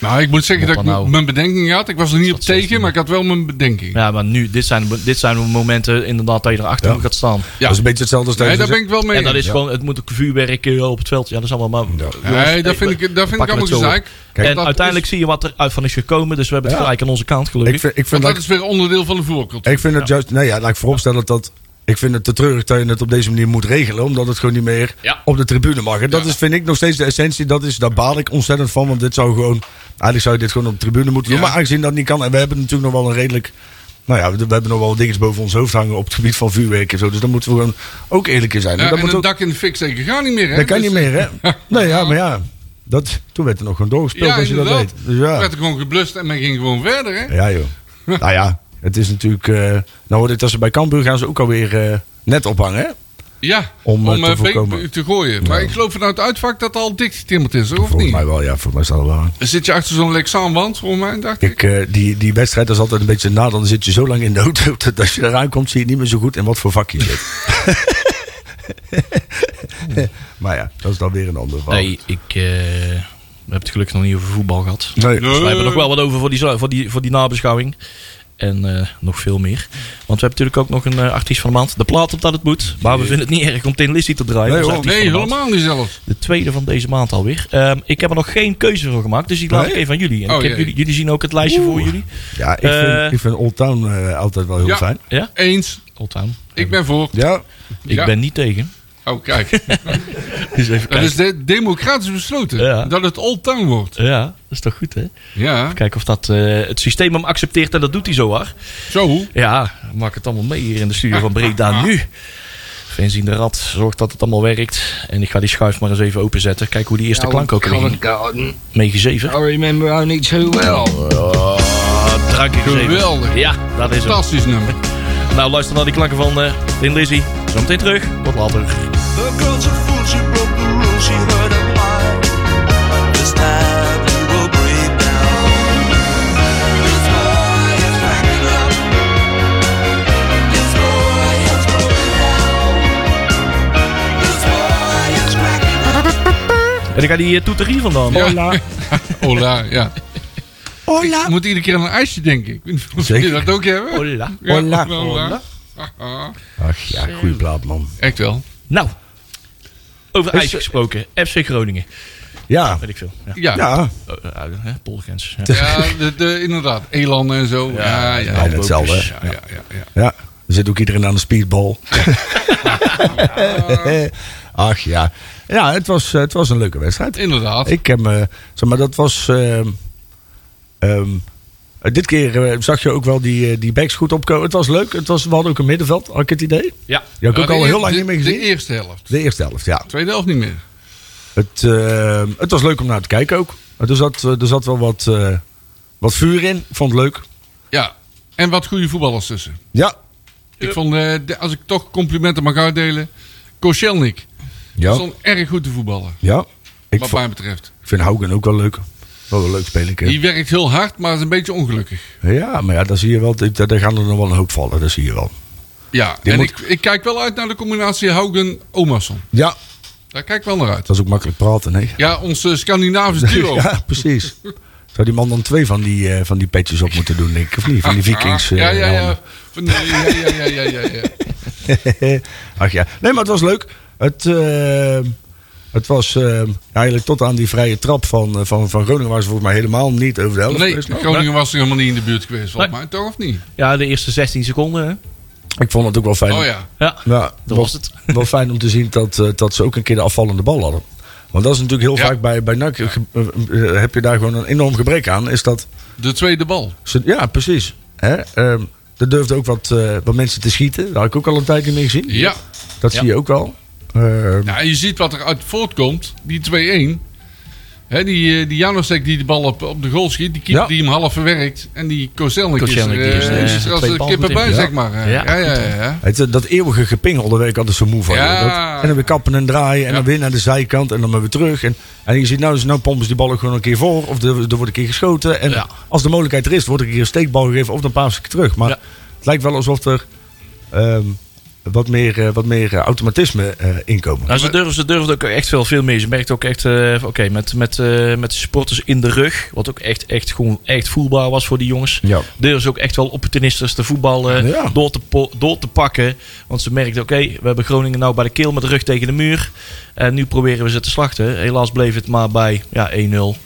Speaker 2: Nou, ik moet zeggen
Speaker 3: Moet
Speaker 2: dat ik
Speaker 3: dan nou-
Speaker 2: mijn bedenkingen had. Ik was er niet op
Speaker 3: dat zestien?
Speaker 2: tegen, maar ik had wel mijn bedenkingen.
Speaker 3: ja maar nu, dit zijn, dit zijn momenten inderdaad dat je erachter
Speaker 4: Ja.
Speaker 3: moet gaat staan.
Speaker 4: Dat dus is een beetje hetzelfde als
Speaker 2: Nee,
Speaker 4: deze-
Speaker 2: daar ben ik wel mee
Speaker 3: En dat
Speaker 2: eens.
Speaker 3: is gewoon, het moet ook vuurwerk eh, op het veld. Ja, dat is allemaal maar. Jongens,
Speaker 4: dus-
Speaker 2: Nee,
Speaker 4: eh,
Speaker 2: dat vind ik, dat vind ik
Speaker 3: pakken
Speaker 2: allemaal
Speaker 3: het zo op.
Speaker 2: gezeik.
Speaker 4: Kijk,
Speaker 3: en
Speaker 2: dat
Speaker 3: uiteindelijk
Speaker 2: is-
Speaker 3: zie je wat er uit van is gekomen. Dus we hebben het
Speaker 4: Ja.
Speaker 3: gelijk aan onze kant
Speaker 4: ik
Speaker 3: gelukkig.
Speaker 4: vind, ik vind
Speaker 2: Want
Speaker 4: dat,
Speaker 2: dat is weer onderdeel van de voorkant.
Speaker 4: ik vind het juist. Nee, ja, laat ik vooropstellen dat. Ik vind het te treurig dat je het op deze manier moet regelen. Omdat het gewoon niet meer
Speaker 3: Ja.
Speaker 4: op de tribune mag. En dat is, vind ik nog steeds de essentie. Dat is, daar baal ik ontzettend van. Want dit zou gewoon. Eigenlijk zou je dit gewoon op de tribune moeten doen.
Speaker 2: Ja.
Speaker 4: Maar aangezien dat niet kan. En we hebben natuurlijk nog wel een redelijk. Nou ja, we, we hebben nog wel dingetjes boven ons hoofd hangen. op het gebied van vuurwerk en zo. Dus daar moeten we gewoon ook eerlijk in zijn.
Speaker 2: Ja,
Speaker 4: dat,
Speaker 2: en
Speaker 4: moet
Speaker 2: een
Speaker 4: ook-
Speaker 2: dak in de fik zeker gaat niet meer. Hè?
Speaker 4: dat kan
Speaker 2: Dus-
Speaker 4: niet meer, hè? nee, ja, maar ja. Dat, toen werd er nog gewoon doorgespeeld.
Speaker 2: Ja,
Speaker 4: als je dat weet.
Speaker 2: inderdaad.
Speaker 4: Dus ja.
Speaker 2: werd er gewoon geblust en men ging gewoon verder. Hè?
Speaker 4: Ja, joh. nou ja, het is natuurlijk. eh, nou hoorde ik dat ze bij Cambuur gaan ze ook alweer eh, net ophangen. Hè?
Speaker 2: Ja,
Speaker 4: Om,
Speaker 2: om,
Speaker 4: eh,
Speaker 2: eh,
Speaker 4: te
Speaker 2: beek-
Speaker 4: voorkomen.
Speaker 2: te gooien. Maar ik geloof vanuit het uitvak dat al dik getimmerd is, hoor, of
Speaker 4: Volgens
Speaker 2: niet?
Speaker 4: mij wel, ja. Volgens mij staat er wel aan.
Speaker 2: Zit je achter zo'n Lexaanwand, volgens mij, dacht ik.
Speaker 4: Ik, eh, die, die wedstrijd dat is altijd een beetje na. Dan zit je zo lang in de auto. Dat als je eraan komt, zie je niet meer zo goed in wat voor vak je zit. maar ja, dat is dan weer een ander verhaal.
Speaker 3: Nee, ik. eh, we hebben het gelukkig nog niet over voetbal gehad.
Speaker 4: Nee.
Speaker 2: Nee.
Speaker 3: Dus we hebben nog wel wat over voor die, zo- voor die, voor die nabeschouwing. En eh, nog veel meer. Want we hebben natuurlijk ook nog een eh, artiest van de maand. De plaat op dat het moet. Maar we vinden het niet erg om Tin Lizzy te draaien.
Speaker 4: Nee,
Speaker 3: als
Speaker 4: hoor.
Speaker 3: artiest
Speaker 2: Nee,
Speaker 3: van de maand.
Speaker 2: helemaal niet zelfs.
Speaker 3: De tweede van deze maand alweer. Ehm, ik heb er nog geen keuze voor gemaakt. Dus die laat
Speaker 4: Nee?
Speaker 3: ik even aan jullie. En
Speaker 2: Oh,
Speaker 3: ik heb
Speaker 2: jee.
Speaker 3: jullie. Jullie zien ook het lijstje voor jullie.
Speaker 4: Ja, ik
Speaker 3: Eh.
Speaker 4: vind, ik vind Old Town eh, altijd wel heel
Speaker 2: Ja.
Speaker 4: fijn.
Speaker 3: Ja?
Speaker 2: Eens,
Speaker 3: Oldtown.
Speaker 2: ik ben voor.
Speaker 4: Ja,
Speaker 3: Ik
Speaker 2: Ja.
Speaker 3: ben niet tegen.
Speaker 2: Oh, kijk.
Speaker 3: Dus even
Speaker 2: Dat
Speaker 3: kijken.
Speaker 2: is de- democratisch besloten.
Speaker 3: Ja.
Speaker 2: Dat het Old Town wordt.
Speaker 3: Ja, dat is toch goed, hè?
Speaker 2: Ja,
Speaker 3: Kijken of dat, eh, het systeem hem accepteert en dat doet hij zo hard.
Speaker 2: zo.
Speaker 3: Ja, maak het allemaal mee hier in de studio van Breda nu. Vincent de Rad zorgt dat het allemaal werkt. En ik ga die schuif maar eens even openzetten. Kijk hoe die eerste klank ook weer
Speaker 5: Covent
Speaker 3: ging.
Speaker 5: Garden.
Speaker 3: meegezeven.
Speaker 5: I remember only too well.
Speaker 3: Oh, drankje gezeven.
Speaker 2: Geweldig.
Speaker 3: Ja, dat is het.
Speaker 2: Fantastisch nummer.
Speaker 3: Nou, luister naar die klanken van eh Lin Lizzy. Zometeen terug. Tot later.
Speaker 6: The girl's a fool, she broke the rules, she heard a lie. This time you will break down. This boy is cracking up. This boy is broken down. This boy is cracking up.
Speaker 3: En ik ga die eh, toeter hier vandaan.
Speaker 2: Ja.
Speaker 4: Hola.
Speaker 2: Ola, ja. Ik moet iedere keer aan een ijsje denken. Ik weet niet of jullie
Speaker 4: Zeker.
Speaker 2: dat ook hebben.
Speaker 3: Hola.
Speaker 2: Ja,
Speaker 4: Hola.
Speaker 2: wel, hola.
Speaker 3: Hola.
Speaker 2: Haha.
Speaker 4: Ach ja, goede plaat, man.
Speaker 2: Echt wel.
Speaker 3: Nou, over ijs gesproken. FC Groningen.
Speaker 4: Ja,
Speaker 3: Weet ik veel. Ja.
Speaker 2: Ja, ja.
Speaker 4: ja.
Speaker 3: Oh, eh, eh, Poldergrens. Ja.
Speaker 2: de, de- inderdaad. Elan en zo. Ja, ja.
Speaker 3: ja,
Speaker 2: ja,
Speaker 4: bijna hetzelfde. hè?
Speaker 2: ja, ja, ja, ja.
Speaker 4: Ja, er zit ook iedereen aan de speedball. Ach ja. Ja, het was, eh, het was een leuke wedstrijd.
Speaker 2: Inderdaad.
Speaker 4: Ik heb me, zeg maar, dat was. ehm, ehm, eh, dit keer eh, zag je ook wel die, eh, die backs goed opkomen. Het was leuk. Het was, we hadden ook een middenveld, had ik het idee.
Speaker 3: ja.
Speaker 4: Die had ik
Speaker 2: Ja,
Speaker 4: ook
Speaker 2: de
Speaker 4: al
Speaker 2: eer-
Speaker 4: heel lang
Speaker 2: de-
Speaker 4: niet meer
Speaker 2: De
Speaker 4: gezien.
Speaker 2: eerste helft.
Speaker 4: De eerste helft, ja.
Speaker 2: Tweede helft niet meer.
Speaker 4: Het, ehm, het was leuk om naar te kijken ook. Er zat, eh, er zat wel wat, eh, wat vuur in. Ik vond het leuk.
Speaker 2: Ja. En wat goede voetballers tussen.
Speaker 4: Ja.
Speaker 2: Ik vond, eh, de- als ik toch complimenten mag uitdelen. Koscielnik.
Speaker 4: Ja.
Speaker 2: Stond erg goed te voetballen.
Speaker 4: ja. Ik,
Speaker 2: wat
Speaker 4: vond-
Speaker 2: mij betreft.
Speaker 4: ik vind Haugen ook wel leuk. Wel een leuk speler.
Speaker 2: Die werkt heel hard, maar is een beetje ongelukkig.
Speaker 4: Ja, maar ja, daar zie je wel. Daar daar gaan er nog wel een hoop vallen. Dat zie je wel.
Speaker 2: Ja,
Speaker 4: Die
Speaker 2: en
Speaker 4: moet-
Speaker 2: ik, ik kijk wel uit naar de combinatie Haugen-Omerson.
Speaker 4: Ja.
Speaker 2: Daar kijk ik wel naar uit.
Speaker 4: Dat is ook makkelijk praten, nee.
Speaker 2: Ja, ons eh, Scandinavisch duo.
Speaker 4: Ja, precies. Zou die man dan twee van die, eh, van die petjes op moeten doen, denk ik, of niet? Van die vikings.
Speaker 2: Ah, ja,
Speaker 4: eh,
Speaker 2: ja,
Speaker 4: helmen.
Speaker 2: ja. Van, eh, ja, ja, ja, ja, ja, ja.
Speaker 4: Ach ja. Nee, maar het was leuk. Het, eh, het was eh, eigenlijk tot aan die vrije trap van, eh, van, van Groningen... waar ze volgens mij helemaal niet over de helft
Speaker 2: Nee,
Speaker 4: geweest.
Speaker 2: Groningen was er helemaal niet in de buurt geweest, volgens mij. Toch of niet?
Speaker 3: Ja, de eerste 16 seconden. Hè?
Speaker 4: Ik vond het ook wel fijn.
Speaker 2: Oh ja.
Speaker 3: Ja,
Speaker 4: Ja,
Speaker 3: dat was het.
Speaker 4: Nou, Wel fijn om te zien dat, eh, dat ze ook een keer de afvallende bal hadden. Want dat is natuurlijk heel
Speaker 2: Ja.
Speaker 4: vaak bij, bij NAC... eh, ge- eh, eh, heb je daar gewoon een enorm gebrek aan. Is dat
Speaker 2: De tweede bal.
Speaker 4: Ze- Ja, precies. Hè? ehm, er durfden ook wat, eh, wat mensen te schieten. Daar had ik ook al een tijd niet meer gezien.
Speaker 2: Ja.
Speaker 4: Dat
Speaker 3: Ja.
Speaker 4: zie je ook wel. Ehm,
Speaker 2: Ja, en Nou, je ziet wat er uit voortkomt. Die 2-1. Hè, die eh, die Janosek die de bal op, op de goal schiet. Die keeper
Speaker 4: Ja.
Speaker 2: die hem half verwerkt. En die Kozelnik is er,
Speaker 3: Kozelnik, die is,
Speaker 2: eh,
Speaker 3: eh,
Speaker 2: is er als
Speaker 3: twee
Speaker 2: een
Speaker 3: bal
Speaker 2: kippen
Speaker 3: goed in.
Speaker 2: bij,
Speaker 3: Ja.
Speaker 2: zeg maar. hè.
Speaker 3: Ja.
Speaker 2: Ja, ja, ja. ja.
Speaker 4: het, eh, dat eeuwige gepingel, daar werd ik altijd zo moe van.
Speaker 2: Ja.
Speaker 4: joh. Dat- en dan weer kappen en draaien. En
Speaker 2: Ja.
Speaker 4: dan weer naar de zijkant. En dan maar weer terug. En, en je ziet nou, dus nou pompen ze die ballen gewoon een keer voor. Of er, er wordt een keer geschoten. En
Speaker 3: Ja.
Speaker 4: als de mogelijkheid er is, wordt er een keer een steekbal gegeven. Of dan paas ik terug. Maar
Speaker 3: Ja.
Speaker 4: het lijkt wel alsof er ehm, wat meer, eh, wat meer eh, automatisme eh inkomen.
Speaker 3: Nou, ze durven, ze durven ook echt veel, veel meer. Je merkt ook echt, eh, oké, met, met, eh, met de supporters in de rug. Wat ook echt, echt, gewoon, echt voelbaar was voor die jongens.
Speaker 4: Ja.
Speaker 3: Durven ze ook echt wel opportunistisch te voetballen.
Speaker 4: Ja.
Speaker 3: Door, te po- door te pakken. Want ze merkten, oké, we hebben Groningen nou bij de keel met de rug tegen de muur. En nu proberen we ze te slachten. Helaas bleef het maar bij ja, 1-0.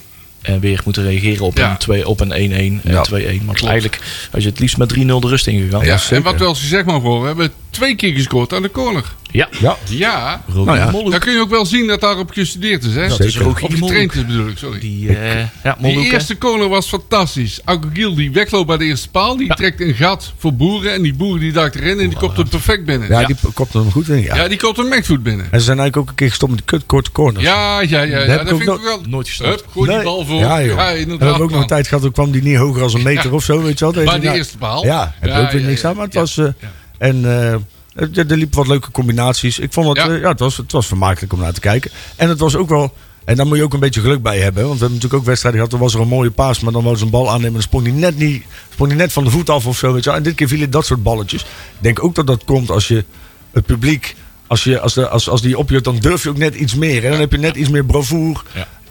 Speaker 3: En weer moeten reageren op
Speaker 2: Ja.
Speaker 3: een 2 op een 1-1 en
Speaker 4: Ja.
Speaker 3: 2-1. Want eigenlijk, als je het liefst met 3-0 de rust ingegaan.
Speaker 2: Ja,
Speaker 4: zeker.
Speaker 2: en wat wel gezegd mag worden, we hebben twee keer gescoord aan de corner.
Speaker 3: ja.
Speaker 4: Ja.
Speaker 2: Ja,
Speaker 3: Rogier
Speaker 4: Nou ja.
Speaker 3: Molhoek,
Speaker 2: daar kun je ook wel zien dat daarop gestudeerd is. Hè?
Speaker 3: Dat is Zeker. Rogier
Speaker 2: Of getraind
Speaker 3: Molhoek.
Speaker 2: is bedoel ik, sorry.
Speaker 3: Die, eh, ja,
Speaker 2: Die
Speaker 3: Molhoek, hè.
Speaker 2: eerste corner was fantastisch. Agogiel die wegloopt bij de eerste paal, die
Speaker 3: Ja.
Speaker 2: trekt een gat voor boeren. En die boeren die dacht erin en die kopte hem perfect binnen.
Speaker 4: Ja,
Speaker 2: Ja,
Speaker 4: die kopte hem goed in. Ja.
Speaker 2: die kopte hem echt goed binnen.
Speaker 4: En ze zijn eigenlijk ook een keer gestopt met de kut, korte corners.
Speaker 2: Ja, ja, ja, ja.
Speaker 4: heb ik
Speaker 2: dat
Speaker 4: ook
Speaker 2: vind ik
Speaker 4: nog
Speaker 2: ook wel.
Speaker 3: nooit gestopt.
Speaker 2: Hup, gooi die
Speaker 4: Nee.
Speaker 2: bal voor.
Speaker 4: Ja, joh.
Speaker 2: Ja,
Speaker 4: en
Speaker 2: inderdaad.
Speaker 4: we hebben ook nog
Speaker 2: man.
Speaker 4: een tijd gehad, toen kwam die niet hoger als een meter
Speaker 2: Ja.
Speaker 4: of zo, weet je wel. Deze-
Speaker 2: Bij de
Speaker 4: nou,
Speaker 2: eerste paal.
Speaker 4: Ja, heb je ook weer
Speaker 2: ja,
Speaker 4: niks
Speaker 2: ja,
Speaker 4: aan, maar het
Speaker 2: ja.
Speaker 4: was... eh,
Speaker 2: Ja.
Speaker 4: En eh, het- ja, er liepen wat leuke combinaties. Ik vond het,
Speaker 2: Ja.
Speaker 4: eh, ja, het, was, het was vermakelijk om naar te kijken. En het was ook wel... En daar moet je ook een beetje geluk bij hebben. Want we hebben natuurlijk ook wedstrijden gehad. Toen was er een mooie paas, maar dan was een bal aannemen. En dan sprong die net, niet, sprong die net van de voet af of zo. Weet je wel. En dit keer vielen dat soort balletjes. Ik denk ook dat dat komt als je het publiek... Als, je, als, de, als, als die opjoot, dan durf je ook net iets meer. Hè? Dan heb je net iets meer bravoer.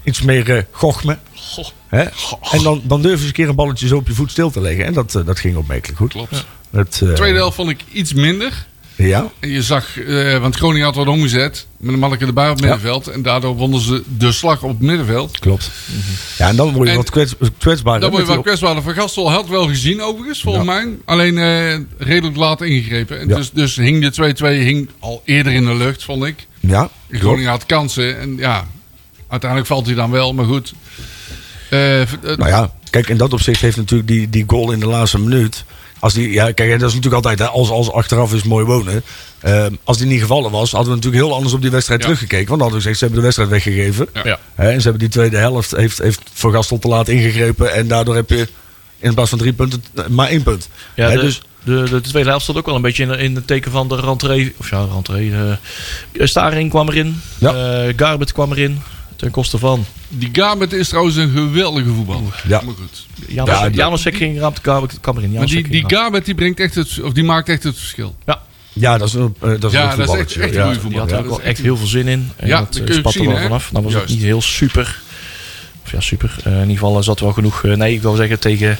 Speaker 4: Iets meer eh gochme. Hè? En dan, dan durf je eens een keer een balletje zo op je voet stil te leggen. En dat, eh, dat ging opmerkelijk goed.
Speaker 2: Klopt.
Speaker 4: Het, eh,
Speaker 2: Tweede helft vond ik iets minder.
Speaker 4: Ja,
Speaker 2: En je zag, eh, want Groningen had wat omgezet. Met een manneke erbij op het middenveld. En daardoor wonnen ze de slag op het middenveld.
Speaker 4: klopt. Ja, en dan word je
Speaker 2: En-
Speaker 4: wat kwets, kwetsbaarder.
Speaker 2: Dan word je
Speaker 4: met
Speaker 2: wel
Speaker 4: die-
Speaker 2: kwetsbaar. Van Gastel had wel gezien overigens, volgens mij. Alleen eh, redelijk laat ingegrepen. En
Speaker 4: Ja.
Speaker 2: dus, dus hing de 2-2 hing al eerder in de lucht, vond ik.
Speaker 4: Ja, klopt.
Speaker 2: Groningen had kansen. En ja, uiteindelijk valt hij dan wel. Maar goed. Eh, v- eh,
Speaker 4: Nou ja, kijk, in dat opzicht heeft natuurlijk die, die goal in de laatste minuut. Als die, ja, kijk, en dat is natuurlijk altijd, hè, als, als achteraf is mooi wonen. Ehm, als die niet gevallen was, hadden we natuurlijk heel anders op die wedstrijd
Speaker 2: Ja.
Speaker 4: teruggekeken. Want dan hadden we gezegd, ze hebben de wedstrijd weggegeven.
Speaker 2: Ja.
Speaker 3: Ja.
Speaker 4: Hè, en ze hebben die tweede helft, heeft, heeft Van Gastel te laat ingegrepen. En daardoor heb je in plaats van drie punten, eh, maar één punt.
Speaker 3: Ja,
Speaker 4: Hè,
Speaker 3: de,
Speaker 4: dus,
Speaker 3: de, de, tweede helft stond ook wel een beetje in, in het teken van de rentree. Of ja, rentree. eh Staring kwam erin.
Speaker 4: Ja.
Speaker 3: Eh, Garbert kwam erin. Ten koste van.
Speaker 2: die Gabet is trouwens een geweldige voetballer.
Speaker 4: Ja.
Speaker 2: Maar goed.
Speaker 3: Janus,
Speaker 4: Ja, die-
Speaker 3: Janusek ging eraan. de Garbert kwam erin.
Speaker 2: Maar
Speaker 3: Janusek
Speaker 2: die, die
Speaker 3: ging eraan.
Speaker 2: Gabet die brengt echt het, of die maakt echt het verschil.
Speaker 4: ja, dat is een, eh, dat is
Speaker 2: Ja,
Speaker 4: een
Speaker 2: dat is echt,
Speaker 4: voetballertje,
Speaker 2: echt een
Speaker 4: ja.
Speaker 2: goede
Speaker 3: Die
Speaker 2: voetballer.
Speaker 3: had er ook
Speaker 2: Dat
Speaker 3: wel
Speaker 2: is
Speaker 3: echt heel veel zin in. En
Speaker 2: Ja,
Speaker 3: dat
Speaker 2: dat
Speaker 3: eh,
Speaker 2: kun je ook
Speaker 3: spatte
Speaker 2: zien,
Speaker 3: wel
Speaker 2: hè?
Speaker 3: vanaf. Dan was het
Speaker 2: Juist.
Speaker 3: niet heel super. Of ja, super. Eh, in ieder geval eh, zat wel genoeg. eh, nee, ik wil zeggen tegen,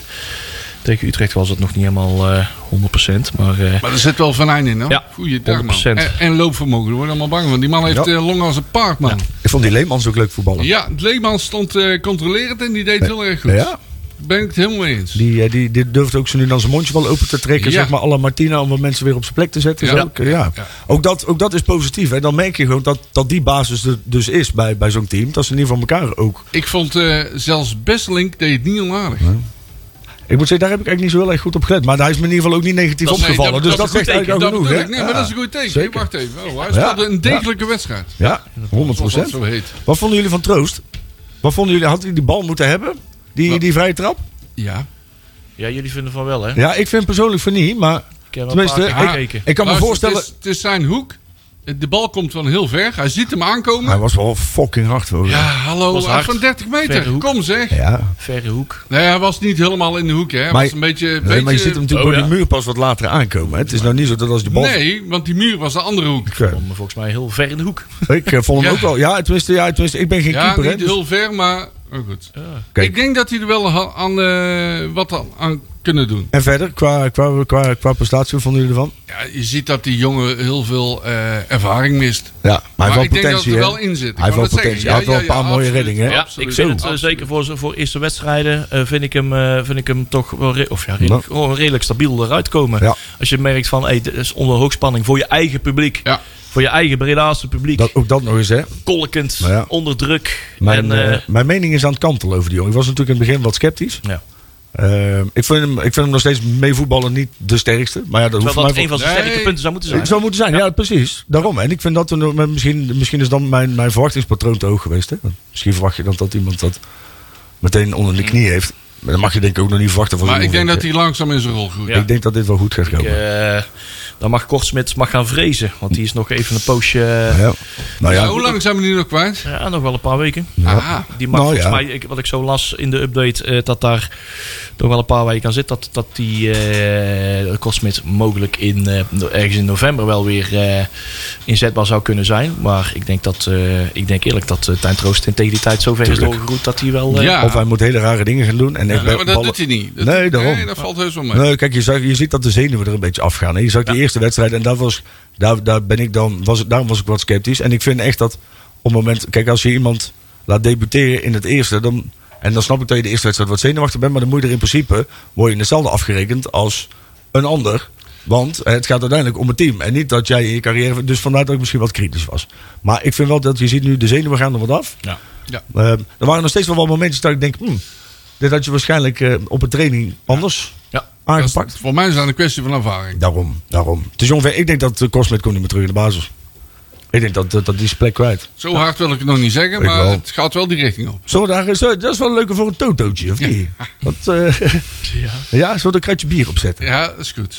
Speaker 3: tegen Utrecht was het nog niet helemaal eh 100%. Maar eh,
Speaker 2: Maar er zit wel Van Eind in, hoor.
Speaker 3: Ja,
Speaker 2: Goeiedag, man.
Speaker 3: 100%.
Speaker 2: En, en loopvermogen, daar worden we allemaal bang van. Die man heeft
Speaker 4: Ja.
Speaker 2: eh, long als een paard, man.
Speaker 4: Ik vond die Leemans ook leuk voetballen.
Speaker 2: Ja, het Leeman stond eh, controlerend en die deed heel erg goed.
Speaker 4: Ja.
Speaker 2: Ben ik het helemaal mee eens.
Speaker 4: Die, eh, die, die durft ook zo nu dan zijn mondje wel open te trekken.
Speaker 2: Ja.
Speaker 4: Zeg maar à la Martina om wat mensen weer op zijn plek te zetten.
Speaker 2: Ja.
Speaker 4: Zo. Ja.
Speaker 2: Ja.
Speaker 4: Ook, dat, ook dat is positief. En dan merk je gewoon dat, dat die basis er dus is bij, bij zo'n team. Dat ze in ieder geval elkaar ook.
Speaker 2: Ik vond eh, zelfs Besselink deed het niet onaardig.
Speaker 4: Ik moet zeggen, daar heb ik eigenlijk niet zo heel erg goed op gelet. Maar hij is me in ieder geval ook niet negatief
Speaker 2: Nee,
Speaker 4: opgevallen.
Speaker 2: dat-
Speaker 4: dus
Speaker 2: dat
Speaker 4: dat,
Speaker 2: is
Speaker 4: zegt
Speaker 2: een goed
Speaker 4: eigenlijk
Speaker 2: teken.
Speaker 4: al
Speaker 2: Dat bedoel
Speaker 4: genoeg. hè?
Speaker 2: ik. Nee, maar dat is een goed teken.
Speaker 4: Zeker.
Speaker 2: Wacht even. Oh, hij
Speaker 4: Ja.
Speaker 2: speelde een degelijke wedstrijd.
Speaker 4: Ja, 100
Speaker 2: Zoals dat zo heet.
Speaker 4: Wat vonden jullie van troost? Wat vonden jullie? Had hij die bal moeten hebben? Die,
Speaker 2: Wat?
Speaker 4: die vrije trap?
Speaker 2: Ja.
Speaker 3: ja, jullie vinden van wel, hè?
Speaker 4: Ja, ik vind persoonlijk van niet. Maar
Speaker 3: Ik heb wel een
Speaker 4: Tenminste,
Speaker 3: paar keer
Speaker 2: ik-
Speaker 3: gekeken.
Speaker 4: ik kan me
Speaker 2: Luister,
Speaker 4: voorstellen.
Speaker 2: Het is, het is zijn hoek. De bal komt van heel ver. Hij ziet hem aankomen.
Speaker 4: Hij was wel fucking hard hoor.
Speaker 2: Ja, hallo,
Speaker 3: Was
Speaker 2: af
Speaker 3: hard.
Speaker 2: van 30
Speaker 3: Verre
Speaker 2: meter.
Speaker 3: hoek.
Speaker 2: Kom zeg.
Speaker 4: Ja.
Speaker 3: Verre hoek.
Speaker 2: Nee, hij was niet helemaal in de hoek, hè. Hij
Speaker 4: Maar-
Speaker 2: was een beetje...
Speaker 4: Nee, maar je
Speaker 2: beetje-
Speaker 4: ziet hem natuurlijk
Speaker 3: Oh,
Speaker 4: door
Speaker 3: ja.
Speaker 4: die muur pas wat later aankomen. hè. Het is nou niet zo dat als de bal...
Speaker 2: Nee, want die muur was de andere hoek.
Speaker 4: Ik, eh,
Speaker 3: Kom volgens mij heel ver in de hoek.
Speaker 4: ik eh, vond hem
Speaker 2: Ja.
Speaker 4: ook wel... Ja, tenminste, ja, tenminste, ik ben geen
Speaker 2: Ja,
Speaker 4: keeper. hè,
Speaker 2: niet
Speaker 4: dus-
Speaker 2: heel ver, maar... Oh, goed.
Speaker 4: Kijk.
Speaker 2: Ik denk dat hij er wel ha- aan, eh, wat aan- aan kunnen doen.
Speaker 4: En verder, qua, qua, qua, qua prestatie, hoe vonden jullie ervan?
Speaker 2: Ja, je ziet dat die jongen heel veel eh, ervaring mist.
Speaker 4: Ja, maar, hij
Speaker 2: Maar
Speaker 4: heeft wel
Speaker 2: ik denk dat
Speaker 4: potentie,
Speaker 2: het er
Speaker 4: hè?
Speaker 2: wel in zit. Ik
Speaker 4: Hij heeft
Speaker 2: wou net
Speaker 4: wel
Speaker 2: zeggen,
Speaker 4: potentie.
Speaker 2: ja,
Speaker 4: Hij heeft wel
Speaker 2: ja,
Speaker 4: een paar
Speaker 2: ja,
Speaker 4: mooie
Speaker 2: absoluut.
Speaker 4: reddingen, hè?
Speaker 2: Ja.
Speaker 3: Ja,
Speaker 2: Absoluut.
Speaker 3: ik vind het eh,
Speaker 2: Absoluut.
Speaker 3: zeker voor, zijn- voor eerste wedstrijden eh, vind, ik hem, eh, vind ik hem toch wel, re- of ja, redelijk, gewoon redelijk stabiel eruit komen.
Speaker 4: Nou. Ja.
Speaker 3: Als je merkt van, hey, dit is onder hoogspanning voor je eigen publiek.
Speaker 2: Ja.
Speaker 3: Voor je eigen Bredaanse publiek.
Speaker 4: Dat, ook dat nog eens, hè?
Speaker 3: kolkend,
Speaker 4: Nou ja.
Speaker 3: onder druk.
Speaker 4: Mijn,
Speaker 3: en, eh,
Speaker 4: eh, mijn mening is aan het kantelen over die jongen. Ik was natuurlijk in het begin wat sceptisch.
Speaker 3: ja.
Speaker 4: Eh, ik, vind hem, ik vind hem nog steeds mee voetballen niet de sterkste. Maar ja, dat
Speaker 3: Terwijl
Speaker 4: hoeft voor
Speaker 3: dat
Speaker 4: mij
Speaker 3: een van zijn
Speaker 2: Nee.
Speaker 3: sterke punten zou moeten zijn.
Speaker 4: Het zou moeten zijn, ja, precies. Daarom. En ik vind dat we nog- maar misschien, misschien is dan mijn, mijn verwachtingspatroon te hoog geweest. Hè? Want misschien verwacht je dan dat iemand dat meteen onder de knie heeft. Maar dan mag je denk ik ook nog niet verwachten van
Speaker 2: Mm. Maar
Speaker 4: zo'n
Speaker 2: ik denk dat
Speaker 4: ventje.
Speaker 2: hij langzaam in zijn rol groeit.
Speaker 3: Ja.
Speaker 4: Ik denk dat dit wel goed gaat komen.
Speaker 3: Eh, dan mag Kortsmit mag gaan vrezen. Want die is nog even een poosje... eh,
Speaker 4: ja. Nou ja,
Speaker 2: Ja, hoe lang zijn we nu nog kwijt? Ah.
Speaker 3: ja, nog wel een paar weken.
Speaker 2: Aha.
Speaker 3: Die mag
Speaker 4: Nou
Speaker 3: volgens
Speaker 4: ja.
Speaker 3: mij, ik, wat ik zo las in de update, eh, dat daar nog wel een paar weken aan zit. Dat, dat die eh Cosmit mogelijk in, eh, no- ergens in november wel weer eh, inzetbaar zou kunnen zijn. Maar ik denk, dat, eh, ik denk eerlijk dat eh Tijn Troost in tegen die tijd zover is
Speaker 4: Tuurlijk.
Speaker 3: doorgeroet dat hij wel... eh,
Speaker 2: Ja.
Speaker 4: Of hij moet hele rare dingen gaan doen. En echt
Speaker 2: Ja, maar dat
Speaker 4: ballen-
Speaker 2: doet hij niet. Dat-
Speaker 4: Nee, daarom.
Speaker 2: Nee, dat valt heus wel mee.
Speaker 4: Nee, kijk, je, zag, je ziet dat de zenuwen er een beetje afgaan. hè. Je zag die eerste wedstrijd en daar, was, daar, daar ben ik dan, was, ik- daarom was ik wat sceptisch. En ik vind echt dat op het moment, kijk, als je iemand laat debuteren in het eerste, dan, en dan snap ik dat je de eerste wedstrijd wat zenuwachtig bent, maar dan moet je er in principe, word je hetzelfde afgerekend als een ander. Want eh, het gaat uiteindelijk om het team. En niet dat jij in je carrière. Dus vandaar dat ik misschien wat kritisch was. Maar ik vind wel dat je ziet nu de zenuwen gaan er wat af.
Speaker 3: Ja.
Speaker 2: Ja.
Speaker 4: Eh, er waren nog steeds wel wat momentjes dat ik denk. hmm, dit had je waarschijnlijk eh, op een training anders
Speaker 3: Ja.
Speaker 2: Dat is-
Speaker 4: aangepakt.
Speaker 2: voor mij is dat een kwestie van ervaring.
Speaker 4: Daarom, daarom. Het is ongeveer, ik denk dat eh, Cosmet komt niet meer terug in de basis. Ik denk dat, dat, dat die is plek kwijt.
Speaker 2: Zo hard wil ik het nog niet zeggen,
Speaker 4: Ik
Speaker 2: maar
Speaker 4: wel.
Speaker 2: het gaat wel die richting op.
Speaker 4: Zo, daar, is- dat is wel leuker voor een totootje, of niet? Dat, eh, ja. zullen we een kratje bier opzetten? Ja?
Speaker 2: Ja, dat is goed.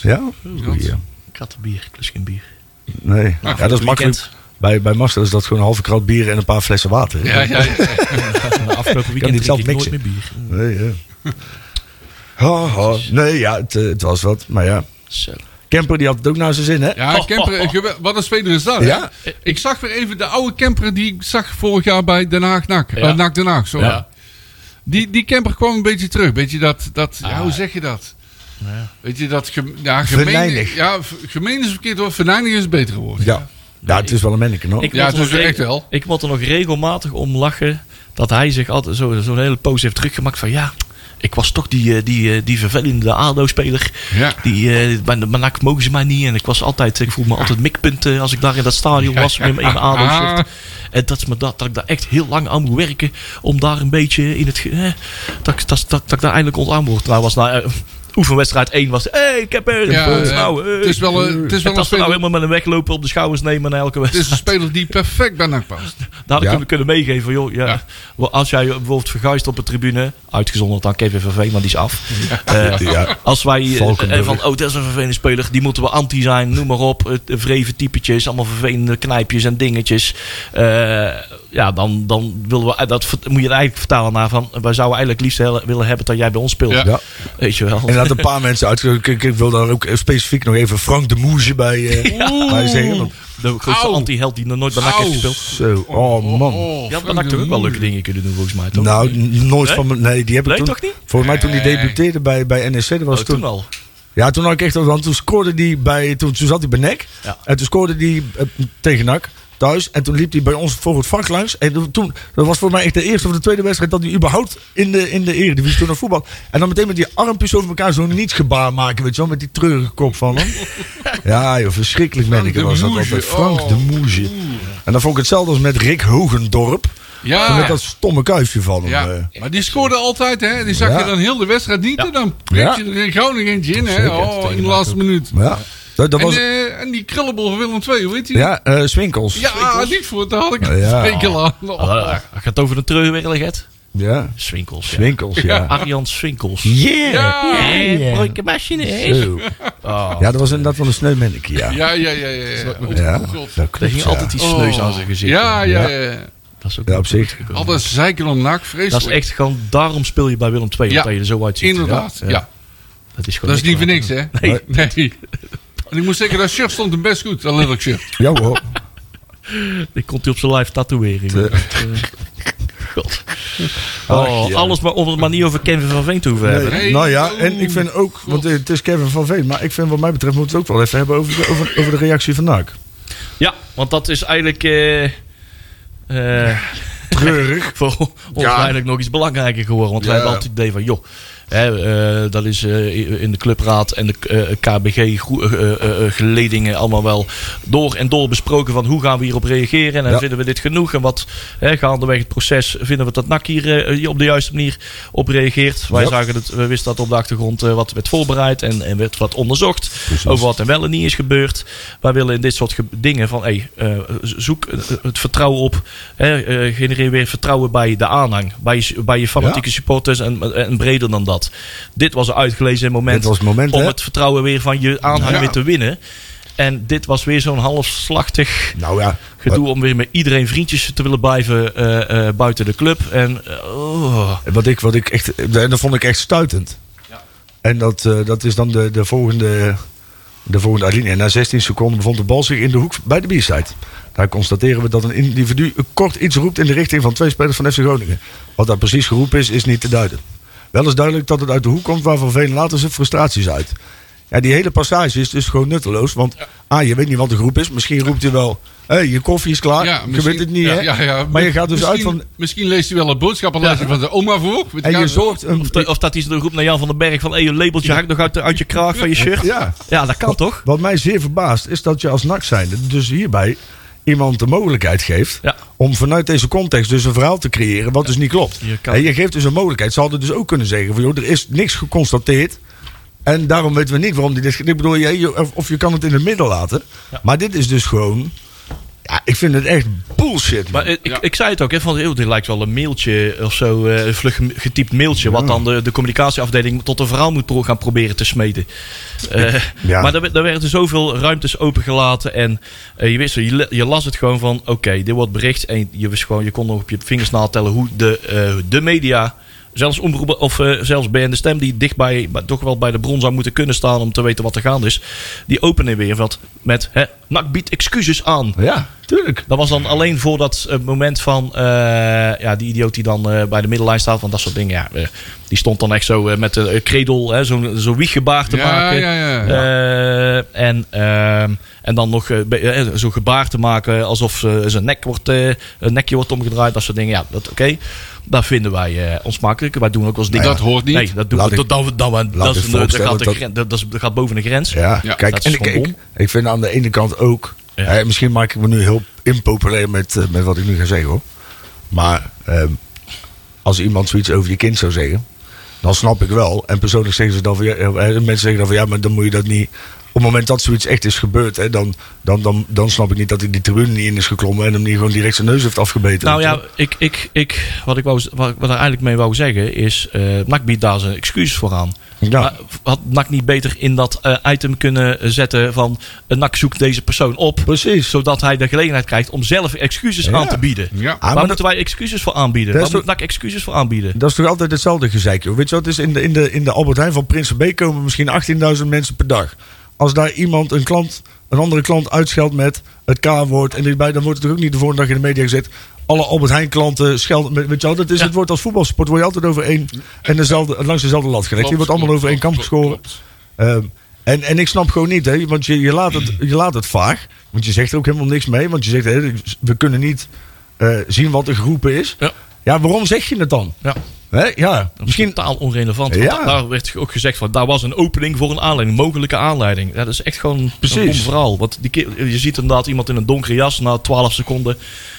Speaker 4: Goeie.
Speaker 3: Kattenbier, ik lust geen bier.
Speaker 4: Nee. ja, dat is makkelijk.
Speaker 3: weekend.
Speaker 4: Bij, bij Master is dat gewoon een halve krat bier en een paar flessen water. hè?
Speaker 2: Ja, ja, ja.
Speaker 3: De afgelopen
Speaker 4: niet
Speaker 3: weekend drink
Speaker 4: zelf
Speaker 3: ik nooit meer
Speaker 4: mixen.
Speaker 3: bier.
Speaker 4: Nee, ja. Ha, ha. Nee, ja, het, eh, het was wat. Maar ja,
Speaker 3: Zo.
Speaker 4: Kemper die had het ook naar zijn zin, hè?
Speaker 2: ja Kemper, een gewel- wat een speler is dat? hè?
Speaker 4: Ja.
Speaker 2: Ik zag weer even de oude Kemper die ik zag vorig jaar bij Den Haag NAC. Eh, NAC Den Haag, sorry.
Speaker 3: Ja.
Speaker 2: Die, die Kemper kwam een beetje terug. Beetje dat, dat
Speaker 3: Ah.
Speaker 2: ja, hoe zeg je dat? Weet je, dat gem, ja, gemeen,
Speaker 4: Venijnig.
Speaker 2: Ja, v- gemeen is verkeerd woord. Venijnig is een beter woord.
Speaker 4: Ja, ja het is wel een manneke, hoor.
Speaker 3: Ik
Speaker 2: Ja,
Speaker 3: moet er
Speaker 2: het is
Speaker 3: nog
Speaker 2: echt
Speaker 3: reg-
Speaker 2: wel.
Speaker 3: Ik moet er nog regelmatig om lachen dat hij zich altijd zo- zo'n hele pose heeft teruggemaakt van ja. Ik was toch die, eh, die, eh, die vervelende ADO-speler.
Speaker 2: Ja.
Speaker 3: Die, eh, bij de bij NAC mogen ze mij niet. En ik was altijd, ik voelde me altijd mikpunten als ik daar in dat stadion was met mijn ADO-shirt. En dat, is me dat, dat ik daar echt heel lang aan moet werken. Om daar een beetje in het... ge- Eh, dat, ik- dat, dat, dat ik daar eindelijk ontdaan word. Nou was na eh, oefenwedstrijd 1 was... Hé, hey, ik heb er...
Speaker 2: Ja,
Speaker 3: een
Speaker 2: eh,
Speaker 3: nou, hey.
Speaker 2: het is wel een- het is wel een
Speaker 3: En dat we nou
Speaker 2: speler-
Speaker 3: helemaal met een weglopen op de schouders nemen naar elke
Speaker 2: Het is
Speaker 3: wedstrijd.
Speaker 2: een speler die perfect bij NAC past.
Speaker 3: Daar
Speaker 4: Ja.
Speaker 3: kunnen we kunnen meegeven, van, joh. Ja,
Speaker 2: Ja.
Speaker 3: wel, Als jij bijvoorbeeld verguist op de tribune, uitgezonderd dan KVVV, maar die is af. Eh,
Speaker 4: Ja.
Speaker 3: Als wij eh,
Speaker 4: Valkenburg.
Speaker 3: eh, van, oh, dat is een vervelende speler, die moeten we anti zijn, noem maar op. eh, Vreven typetjes, allemaal vervelende knijpjes en dingetjes. Eh, ja, dan, dan willen we, eh, dat ver- moet je het eigenlijk vertalen naar van, wij zouden eigenlijk liefst hele- willen hebben dat jij bij ons speelt.
Speaker 2: Ja.
Speaker 4: Ja.
Speaker 3: Weet je wel.
Speaker 4: En dat een paar mensen uit. Ik, ik- ik wil daar ook specifiek nog even Frank de Moesje bij, eh, bij zeggen. want-
Speaker 3: De grootste
Speaker 2: Auw.
Speaker 3: anti-held die nog nooit bij NAC heeft
Speaker 2: Auw.
Speaker 3: gespeeld.
Speaker 4: zo, oh man.
Speaker 3: Je had bij NAC toch ook wel leuke dingen kunnen doen, volgens mij, toch?
Speaker 4: Nou, n- nooit
Speaker 3: Nee?
Speaker 4: van mijn. Nee, die heb ik
Speaker 3: Nee,
Speaker 4: toen.
Speaker 3: toch niet?
Speaker 4: Volgens mij toen die
Speaker 2: Nee.
Speaker 4: debuteerde bij, bij NSC, dat was
Speaker 3: Oh,
Speaker 4: toen.
Speaker 3: toen al.
Speaker 4: Ja, toen had ik echt. Want toen scoorde die bij. Toen, toen zat hij bij NEC.
Speaker 3: Ja.
Speaker 4: En toen scoorde die eh, tegen NAC thuis. En toen liep hij bij ons voor het vak langs. En toen- toen, dat was voor mij echt de eerste of de tweede wedstrijd dat hij überhaupt in de, in de eredivisie toen naar voetbal. En dan meteen met die armpjes over elkaar zo'n nietsgebaar maken, weet je wel, met die treurige kop van hem. ja, joh, verschrikkelijk
Speaker 2: Frank
Speaker 4: manneke
Speaker 2: de
Speaker 4: was dat
Speaker 2: Moesje,
Speaker 4: altijd. Frank
Speaker 2: oh.
Speaker 4: de Moesje. En dan vond ik hetzelfde als met Rick Hogendorp.
Speaker 2: Ah, Ja.
Speaker 4: Met dat stomme kuifje van hem. eh.
Speaker 2: Ja, maar die scoorde altijd, hè? Die zag
Speaker 4: Ja.
Speaker 2: je dan heel de wedstrijd niet. En dan
Speaker 4: Ja.
Speaker 2: weet je er in Groningen eentje in, hè?
Speaker 4: Zeker,
Speaker 2: Oh, in
Speaker 4: tegen
Speaker 2: de laatste minuut.
Speaker 4: Maar ja, dat, dat
Speaker 2: En,
Speaker 4: was.
Speaker 2: eh, en die krullenbol van Willem II, weet je? Ja,
Speaker 4: ja, eh Swinkels.
Speaker 2: niet voor. Daar had ik
Speaker 4: Ja.
Speaker 2: het ja. aan. Oh.
Speaker 3: Ah, dat gaat over een treurwerkelijkheid.
Speaker 4: Ja.
Speaker 3: Swinkels. Ja.
Speaker 4: Swinkels, ja.
Speaker 3: Arjan Swinkels.
Speaker 4: Yeah!
Speaker 2: Ja.
Speaker 3: Eh, Broeike machine. hè?
Speaker 4: Zo.
Speaker 3: Oh,
Speaker 4: Ja, dat was inderdaad wel een sneumennikie, ja.
Speaker 2: Ja, ja, ja, ja. ja. Oh,
Speaker 4: Ja,
Speaker 2: God. Oh.
Speaker 4: dat
Speaker 3: Er
Speaker 4: klopt,
Speaker 3: ging
Speaker 4: ja.
Speaker 3: altijd iets sneus aan zijn gezicht.
Speaker 2: Ja, ja, ja.
Speaker 3: Dat is ook
Speaker 4: Ja, op zich.
Speaker 2: Altijd zeiken om naak, vreselijk.
Speaker 3: Dat is echt gewoon, daarom speel je bij Willem II.
Speaker 2: Ja,
Speaker 3: omdat je er zo uitziet.
Speaker 2: Inderdaad, ja.
Speaker 3: Dat is, gewoon
Speaker 2: Dat is niet voor niks, hè?
Speaker 3: Nee.
Speaker 2: Nee. En ik moet zeggen, dat shirt stond hem best goed. Dat lelijk shirt.
Speaker 4: Ja hoor.
Speaker 3: Ik kon hij op zijn live tatoeëring.
Speaker 4: Eh.
Speaker 3: Eh, God. Oh,
Speaker 4: ja.
Speaker 3: Alles maar om het maar niet over Kevin van Veen te hoeven hebben.
Speaker 2: Nee.
Speaker 4: Nou ja, en ik vind ook, want eh, het is Kevin van Veen, maar ik vind wat mij betreft moeten we het ook wel even hebben over de, over, over de reactie van NAC.
Speaker 3: Ja, want dat is eigenlijk... eh, eh,
Speaker 4: Treurig.
Speaker 3: voor ons eigenlijk nog iets belangrijker geworden. Want wij
Speaker 2: Ja.
Speaker 3: hebben altijd het idee van, joh, hè, eh, dat is eh, in de clubraad en de eh, KBG groe- eh, eh, eh, geledingen allemaal wel door en door besproken van hoe gaan we hierop reageren en
Speaker 4: Ja.
Speaker 3: vinden we dit genoeg en wat hè, gaandeweg het proces vinden we dat NAC hier eh, hier op de juiste manier op reageert. Wij
Speaker 4: Ja.
Speaker 3: zagen dat, we wisten dat op de achtergrond eh, wat werd voorbereid en, en werd wat onderzocht over wat er wel en niet is gebeurd. Wij willen in dit soort ge- dingen van, hey, eh, zoek eh, het vertrouwen op, hè, eh, genereer weer vertrouwen bij de aanhang, bij je, bij je fanatieke supporters en, en breder dan dat. Dit was een uitgelezen moment,
Speaker 4: Dit was het moment,
Speaker 3: om
Speaker 4: hè?
Speaker 3: het vertrouwen weer van je aanhang
Speaker 2: Ja.
Speaker 3: weer te winnen. En dit was weer zo'n halfslachtig
Speaker 4: Nou ja.
Speaker 3: gedoe om weer met iedereen vriendjes te willen blijven eh, eh, buiten de club. En eh, oh,
Speaker 4: Wat ik, wat ik echt, en dat vond ik echt stuitend. En dat, eh, dat is dan de, de volgende, de volgende alinea. Na 16 seconden bevond de bal zich in de hoek bij de b-side. Daar constateren we dat een individu kort iets roept in de richting van twee spelers van FC Groningen. Wat daar precies geroepen is, is niet te duiden. Wel is duidelijk dat het uit de hoek komt waarvan velen later zijn frustraties uit. Ja, die hele passage is dus gewoon nutteloos. Want A, je weet niet wat de groep is. Misschien roept hij wel, hé, je koffie is klaar.
Speaker 2: Ja,
Speaker 4: Ah, je
Speaker 2: misschien-
Speaker 4: weet het niet,
Speaker 2: ja,
Speaker 4: hè?
Speaker 2: ja, ja.
Speaker 4: Maar je gaat dus uit
Speaker 2: Misschien-
Speaker 4: van...
Speaker 2: Misschien leest hij wel een boodschappenlijstje van zijn oma voor. Weet
Speaker 4: En
Speaker 2: ik
Speaker 4: je
Speaker 2: aan-
Speaker 4: zorgt een,
Speaker 3: of, dat- of dat hij zo roept naar Jan van den Berg van, hé, je labeltje hangt nog uit, de- uit je kraag van je shirt.
Speaker 4: Ja.
Speaker 3: Ja, dat kan toch?
Speaker 4: Wat mij zeer verbaast is dat je als NAC zijnde dus hierbij iemand de mogelijkheid geeft
Speaker 3: Ja.
Speaker 4: om vanuit deze context dus een verhaal te creëren wat dus niet klopt.
Speaker 3: Je kan-
Speaker 4: En je geeft dus een mogelijkheid. Ze hadden dus ook kunnen zeggen van joh, er is niks geconstateerd en daarom weten we niet waarom die dit... ge- Ik bedoel, je, je- of- of je kan het in het midden laten, maar dit is dus gewoon... Ja, ik vind het echt bullshit. man.
Speaker 3: Maar eh, ik, ik zei het ook, hè, van, joh, dit lijkt wel een mailtje of zo, eh, een vlug getypt mailtje, wat dan de, de communicatieafdeling tot een verhaal moet pro- gaan proberen te smeden. Eh,
Speaker 4: Ja.
Speaker 3: Maar daar werd- daar werden zoveel ruimtes opengelaten en eh, je wist, wel, je, le- je las het gewoon van, oké, dit wordt bericht en je, wist gewoon, je kon nog op je vingersnaal tellen hoe de, eh, de media... Zelfs omroepen, of eh, zelfs BN de Stem, die dicht bij, maar toch wel bij de bron zou moeten kunnen staan om te weten wat er gaande is. Die openen weer wat met, hè, NAC biedt excuses aan.
Speaker 4: ja, tuurlijk.
Speaker 3: Dat was dan alleen voor dat eh, moment van eh, ja, die idioot die dan eh, bij de middenlijn staat. Want dat soort dingen, ja, eh, die stond dan echt zo eh, met de kredel, hè, zo'n zo'n wieggebaar te
Speaker 2: Ja,
Speaker 3: maken.
Speaker 2: ja, ja.
Speaker 3: Eh, en, ehm, en dan nog eh, be- eh, zo'n gebaar te maken alsof eh, zijn nek wordt, eh, een nekje wordt omgedraaid. Dat soort dingen, ja, dat oké. Daar vinden wij eh ons makkelijk. Wij doen ook wel eens dingen.
Speaker 2: Dat hoort niet.
Speaker 3: Nee, dat doen
Speaker 4: Laat
Speaker 3: we.
Speaker 4: ik-
Speaker 3: Dat, dat, dat, dat, dat,
Speaker 4: ik
Speaker 3: is- dat,
Speaker 4: vooropstellen
Speaker 3: gaat de
Speaker 4: dat-
Speaker 3: gren- dat, dat is- dat gaat boven de grens.
Speaker 4: Ja,
Speaker 2: Ja,
Speaker 4: kijk,
Speaker 3: dat
Speaker 4: en
Speaker 3: is
Speaker 4: ik,
Speaker 3: gewoon
Speaker 4: ik,
Speaker 3: dom.
Speaker 4: ik vind aan de ene kant ook.
Speaker 3: Ja.
Speaker 4: Hè, misschien maak ik me nu heel impopulair met, eh, met wat ik nu ga zeggen hoor. Maar ehm, als iemand zoiets over je kind zou zeggen, dan snap ik wel. En persoonlijk zeggen ze dan van ja, eh, mensen zeggen dan van ja, maar dan moet je dat niet. Op het moment dat zoiets echt is gebeurd, hè, dan, dan, dan, dan snap ik niet dat hij die tribune niet in is geklommen en hem niet gewoon direct zijn neus heeft afgebeten.
Speaker 3: Nou ja, ik, ik, ik, wat, ik wou, wat, ik- wat ik eigenlijk mee wou zeggen is... eh NAC biedt daar zijn excuses voor aan.
Speaker 4: Ja.
Speaker 3: Maar had NAC niet beter in dat eh, item kunnen zetten van... eh, NAC zoekt deze persoon op.
Speaker 4: precies.
Speaker 3: Zodat hij de gelegenheid krijgt om zelf excuses
Speaker 4: Ja.
Speaker 3: aan te bieden.
Speaker 2: Ja.
Speaker 4: Ah,
Speaker 3: Waar
Speaker 4: maar
Speaker 3: moeten wij excuses voor aanbieden?
Speaker 4: Dat
Speaker 3: Waar
Speaker 4: is
Speaker 3: moet
Speaker 4: toch-
Speaker 3: NAC excuses voor aanbieden?
Speaker 4: Dat is toch altijd hetzelfde gezeik, joh. Weet je wat, het is in de, in de, in de Albert Heijn van Prinsenbeek komen misschien 18.000 mensen per dag. Als daar iemand, een klant, een andere klant uitscheldt met het K-woord en dit bij, dan wordt het toch ook niet de volgende dag in de media gezet. Alle Albert Heijn klanten schelden, met- weet je wel, dat is het woord als voetbalsport, word je altijd over één en dezelfde, langs dezelfde lat gelegd. Je wordt allemaal over één kamp geschoren. Ehm, en, en ik snap gewoon niet, hè, want je, je, laat het, je laat het vaag. Want je zegt er ook helemaal niks mee. Want je zegt, hè, we kunnen niet eh, zien wat er geroepen is.
Speaker 3: Ja.
Speaker 4: ja, waarom zeg je het dan?
Speaker 3: Ja.
Speaker 4: Hè? Ja,
Speaker 3: Misschien
Speaker 4: misschien.
Speaker 3: totaal onrelevant. want
Speaker 4: Ja.
Speaker 3: da- Daar werd ook gezegd van, daar was een opening voor een aanleiding, mogelijke aanleiding. Ja, dat is echt gewoon
Speaker 4: Precies.
Speaker 3: een dom verhaal. Want die ki- je ziet inderdaad iemand in een donkere jas na 12 seconden,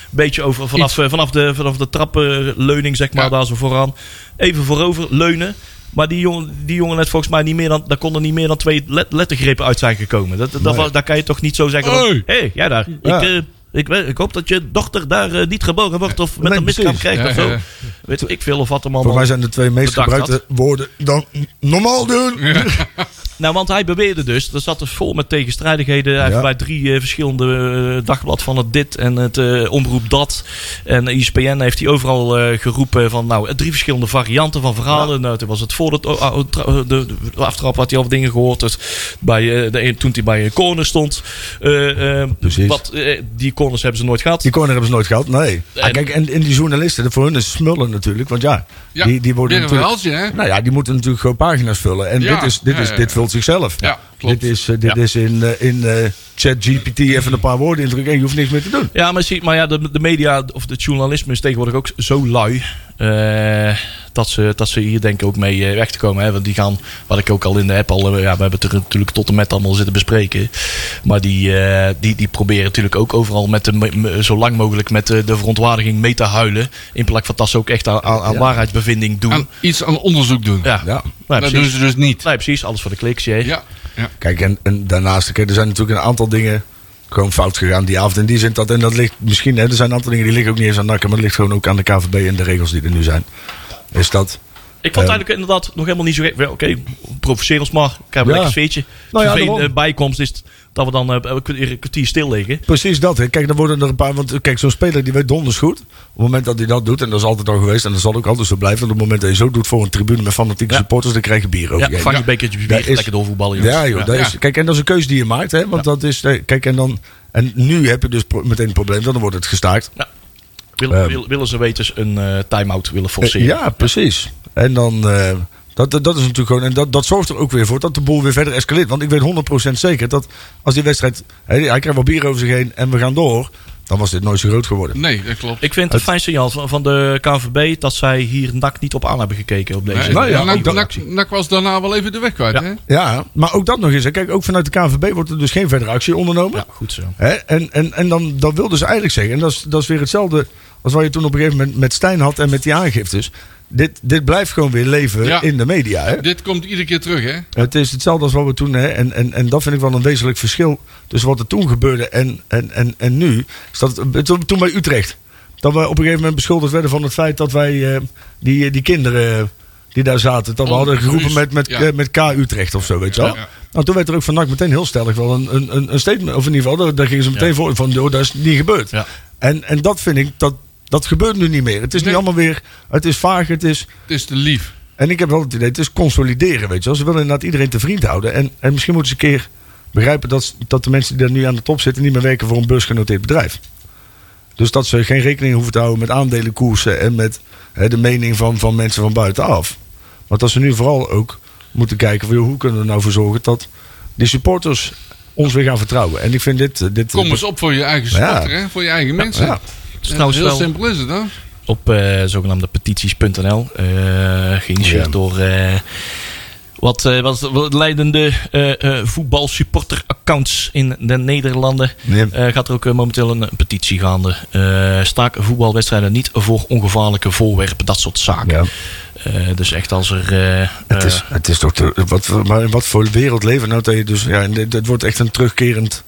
Speaker 3: beetje over vanaf, eh, vanaf de, vanaf de trappenleuning zeg maar
Speaker 2: Ja.
Speaker 3: daar zo vooraan, even voorover leunen. Maar die jongen, die jongen net volgens mij niet meer dan, daar konden niet meer dan twee let- lettergrepen uit zijn gekomen. Dat, dat, was- daar kan je toch niet zo zeggen. van,
Speaker 2: Hey.
Speaker 3: hey, jij daar.
Speaker 4: Ja.
Speaker 3: Ik eh, Ik, weet- ik hoop dat je dochter daar eh, niet geboren wordt of met
Speaker 4: Nee,
Speaker 3: een miskraam
Speaker 4: precies.
Speaker 3: krijgt of
Speaker 2: Ja,
Speaker 3: zo.
Speaker 2: ja.
Speaker 3: Weet ik veel of wat hem
Speaker 4: Voor
Speaker 3: allemaal...
Speaker 4: mij zijn de twee meest
Speaker 3: bedacht
Speaker 4: gebruikte woorden dan normaal doen.
Speaker 3: Nou, want hij beweerde dus, dat zat dus vol met tegenstrijdigheden. Hij heeft bij drie eh, verschillende eh, dagblad van het dit en het eh, omroep dat. En ISPN heeft hij overal eh, geroepen van nou, eh, drie verschillende varianten van verhalen. Nou, toen was het voor het, o- o- tra- eh, de, de aftrap had hij al dingen gehoord. Dus bij, eh, de, een- toen hij bij een corner stond. Eh, eh,
Speaker 4: Precies.
Speaker 3: wat, eh, die corners hebben ze nooit gehad.
Speaker 4: Die corner hebben ze nooit gehad, nee.
Speaker 3: En-
Speaker 4: Ah, kijk, en, en die journalisten, voor hun is smullen natuurlijk. Want ja,
Speaker 2: Ja,
Speaker 4: die, die worden
Speaker 2: weer een
Speaker 4: natuurlijk...
Speaker 2: verhaaltje, hè?
Speaker 4: Nou ja, die moeten natuurlijk gewoon pagina's vullen. En
Speaker 2: Ja,
Speaker 4: dit, is, dit,
Speaker 2: ja,
Speaker 4: is,
Speaker 2: ja,
Speaker 4: dit
Speaker 2: ja.
Speaker 4: vult zichzelf.
Speaker 2: Ja, klopt.
Speaker 4: Dit is, eh, dit is in, eh, in eh, ChatGPT even een paar woorden indrukken en je hoeft niks meer te doen.
Speaker 3: Ja, maar, zie, maar ja, de, de media of het journalisme is tegenwoordig ook zo lui. eh, dat, ze, dat ze hier denk ik ook mee eh, weg te komen. Hè? Want die gaan, wat ik ook al in de app al... eh, Ja, we hebben het er natuurlijk tot en met allemaal zitten bespreken. Maar die, eh, die, die proberen natuurlijk ook overal met de, me- me- zo lang mogelijk met de, de verontwaardiging mee te huilen. In plaats van dat ze ook echt aan, aan, aan waarheidsbevinding doen.
Speaker 2: Aan iets aan onderzoek doen.
Speaker 3: ja,
Speaker 4: Ja.
Speaker 3: Nee,
Speaker 2: dat doen
Speaker 3: precies.
Speaker 2: ze dus niet.
Speaker 3: Nee, precies. Alles voor de kliks, jee.
Speaker 2: Ja, ja.
Speaker 4: Kijk, en, en daarnaast, kijk, er zijn natuurlijk een aantal dingen gewoon fout gegaan die avond. In die zin dat, en dat ligt misschien, hè, er zijn een aantal dingen die liggen ook niet eens aan nakken, maar het ligt gewoon ook aan de KVB en de regels die er nu zijn. Is dat.
Speaker 3: Ik vond het
Speaker 4: Ja.
Speaker 3: eigenlijk inderdaad nog helemaal niet zo gek. Wel, Oké, provoceer ons maar. Ik heb een
Speaker 4: Ja.
Speaker 3: lekker sfeertje.
Speaker 4: Nou ja,
Speaker 3: Vervelende
Speaker 4: daarom.
Speaker 3: bijkomst is dat we dan eh, een kwartier- een kwartier stil liggen.
Speaker 4: Precies dat. Hè. Kijk, dan worden er een paar. Want kijk, zo'n speler die weet donders goed. Op het moment dat hij dat doet, en dat is altijd al geweest, en dat zal ook altijd zo blijven. want Op het moment dat je zo doet voor een tribune met fanatieke
Speaker 3: Ja.
Speaker 4: supporters, dan krijg je bier
Speaker 3: Ja,
Speaker 4: over. je heen.
Speaker 3: vang je bekertje bier,
Speaker 4: Daar is-
Speaker 3: lekker doorvoetballen. jongens.
Speaker 4: Ja, joh,
Speaker 3: Ja.
Speaker 4: dat
Speaker 2: Ja.
Speaker 4: Is, kijk, en dat is een keuze die je maakt, hè? Want dat is. eh, Kijk, en dan. En nu heb je dus pro- meteen een probleem, dan wordt het gestaakt.
Speaker 3: Willen,
Speaker 4: Ehm.
Speaker 3: wil- willen ze weten een eh, time-out willen
Speaker 4: Eh,
Speaker 3: forceren.
Speaker 4: ja, precies. En dan. eh, dat, dat, dat is natuurlijk gewoon. En dat, dat zorgt er ook weer voor dat de boel weer verder escaleert. Want ik weet 100% zeker dat als die wedstrijd. hè, hij krijgt wel bier over zich heen en we gaan door. Dan was dit nooit zo groot geworden.
Speaker 2: Nee, dat klopt.
Speaker 3: Ik vind het een fijn signaal van, van de KNVB dat zij hier NAC niet op aan hebben gekeken op deze.
Speaker 2: Nee,
Speaker 4: Nou ja,
Speaker 2: Nak-
Speaker 4: ook dat-
Speaker 2: Nak- Nak was daarna wel even de weg kwijt,
Speaker 3: Ja.
Speaker 2: hè?
Speaker 4: Ja, maar ook dat nog eens. hè. Kijk, ook vanuit de KNVB wordt er dus geen verdere actie ondernomen.
Speaker 3: Ja, goed zo.
Speaker 4: Hè? En, en, en dan, dat wil dus eigenlijk zeggen, en dat is, dat is weer hetzelfde als wat je toen op een gegeven moment met Stijn had en met die aangiftes. Dit, dit blijft gewoon weer leven
Speaker 2: Ja.
Speaker 4: in de media. Hè?
Speaker 2: Dit komt iedere keer terug, hè?
Speaker 4: Het is hetzelfde als wat we toen, hè? En, en, en dat vind ik wel een wezenlijk verschil tussen wat er toen gebeurde en, en, en, en nu. Is dat, het- toen- toen bij Utrecht, dat we op een gegeven moment beschuldigd werden van het feit dat wij eh, die, die kinderen eh, die daar zaten, dat we
Speaker 2: Oh,
Speaker 4: hadden geroepen
Speaker 2: precies.
Speaker 4: met, met,
Speaker 2: Ja.
Speaker 4: eh, met K Utrecht of zo, weet je wel.
Speaker 2: Ja, ja.
Speaker 4: Nou, toen werd er ook van NAC meteen heel stellig wel een, een, een, een statement, of in ieder geval, daar, daar gingen ze meteen voor van, joh, dat is niet gebeurd.
Speaker 3: Ja.
Speaker 4: En, en dat vind ik, dat, dat gebeurt nu niet meer. Het is
Speaker 2: Nee.
Speaker 4: nu allemaal weer, het is vaag, het is...
Speaker 2: Het is te lief.
Speaker 4: En ik heb wel het idee, het is consolideren, weet je wel. Ze willen inderdaad iedereen te vriend houden. En, en misschien moeten ze een keer begrijpen dat, dat de mensen die daar nu aan de top zitten... niet meer werken voor een beursgenoteerd bedrijf. Dus dat ze geen rekening hoeven te houden met aandelenkoersen... en met hè, de mening van, van mensen van buitenaf. Want dat ze nu vooral ook moeten kijken... Van, joh, hoe kunnen we er nou voor zorgen dat die supporters ons weer gaan vertrouwen. En ik vind dit... eh, dit
Speaker 2: Kom eens op voor je eigen
Speaker 4: Ja.
Speaker 2: supporter, hè? Voor je eigen mensen.
Speaker 4: Ja.
Speaker 3: Het
Speaker 2: Ja,
Speaker 3: is nou trouwens
Speaker 2: heel
Speaker 3: wel-
Speaker 2: simpel is het, hè?
Speaker 3: op eh, zogenaamde petities.nl. eh geïnitieerd
Speaker 4: Ja.
Speaker 3: door eh, wat, eh, wat, wat leidende eh eh voetbalsupporter-accounts in de Nederlanden.
Speaker 4: Ja.
Speaker 3: Eh, gaat er ook eh, momenteel een, eh, petitie gaande. Eh staak voetbalwedstrijden niet voor ongevaarlijke voorwerpen, dat soort zaken.
Speaker 4: Ja.
Speaker 3: Eh, dus echt als er... eh,
Speaker 4: Het
Speaker 3: eh,
Speaker 4: is, het is toch. Te, wat, voor- maar in wat voor wereld leven we nou dat je dus. Ja, en dit- het wordt echt een terugkerend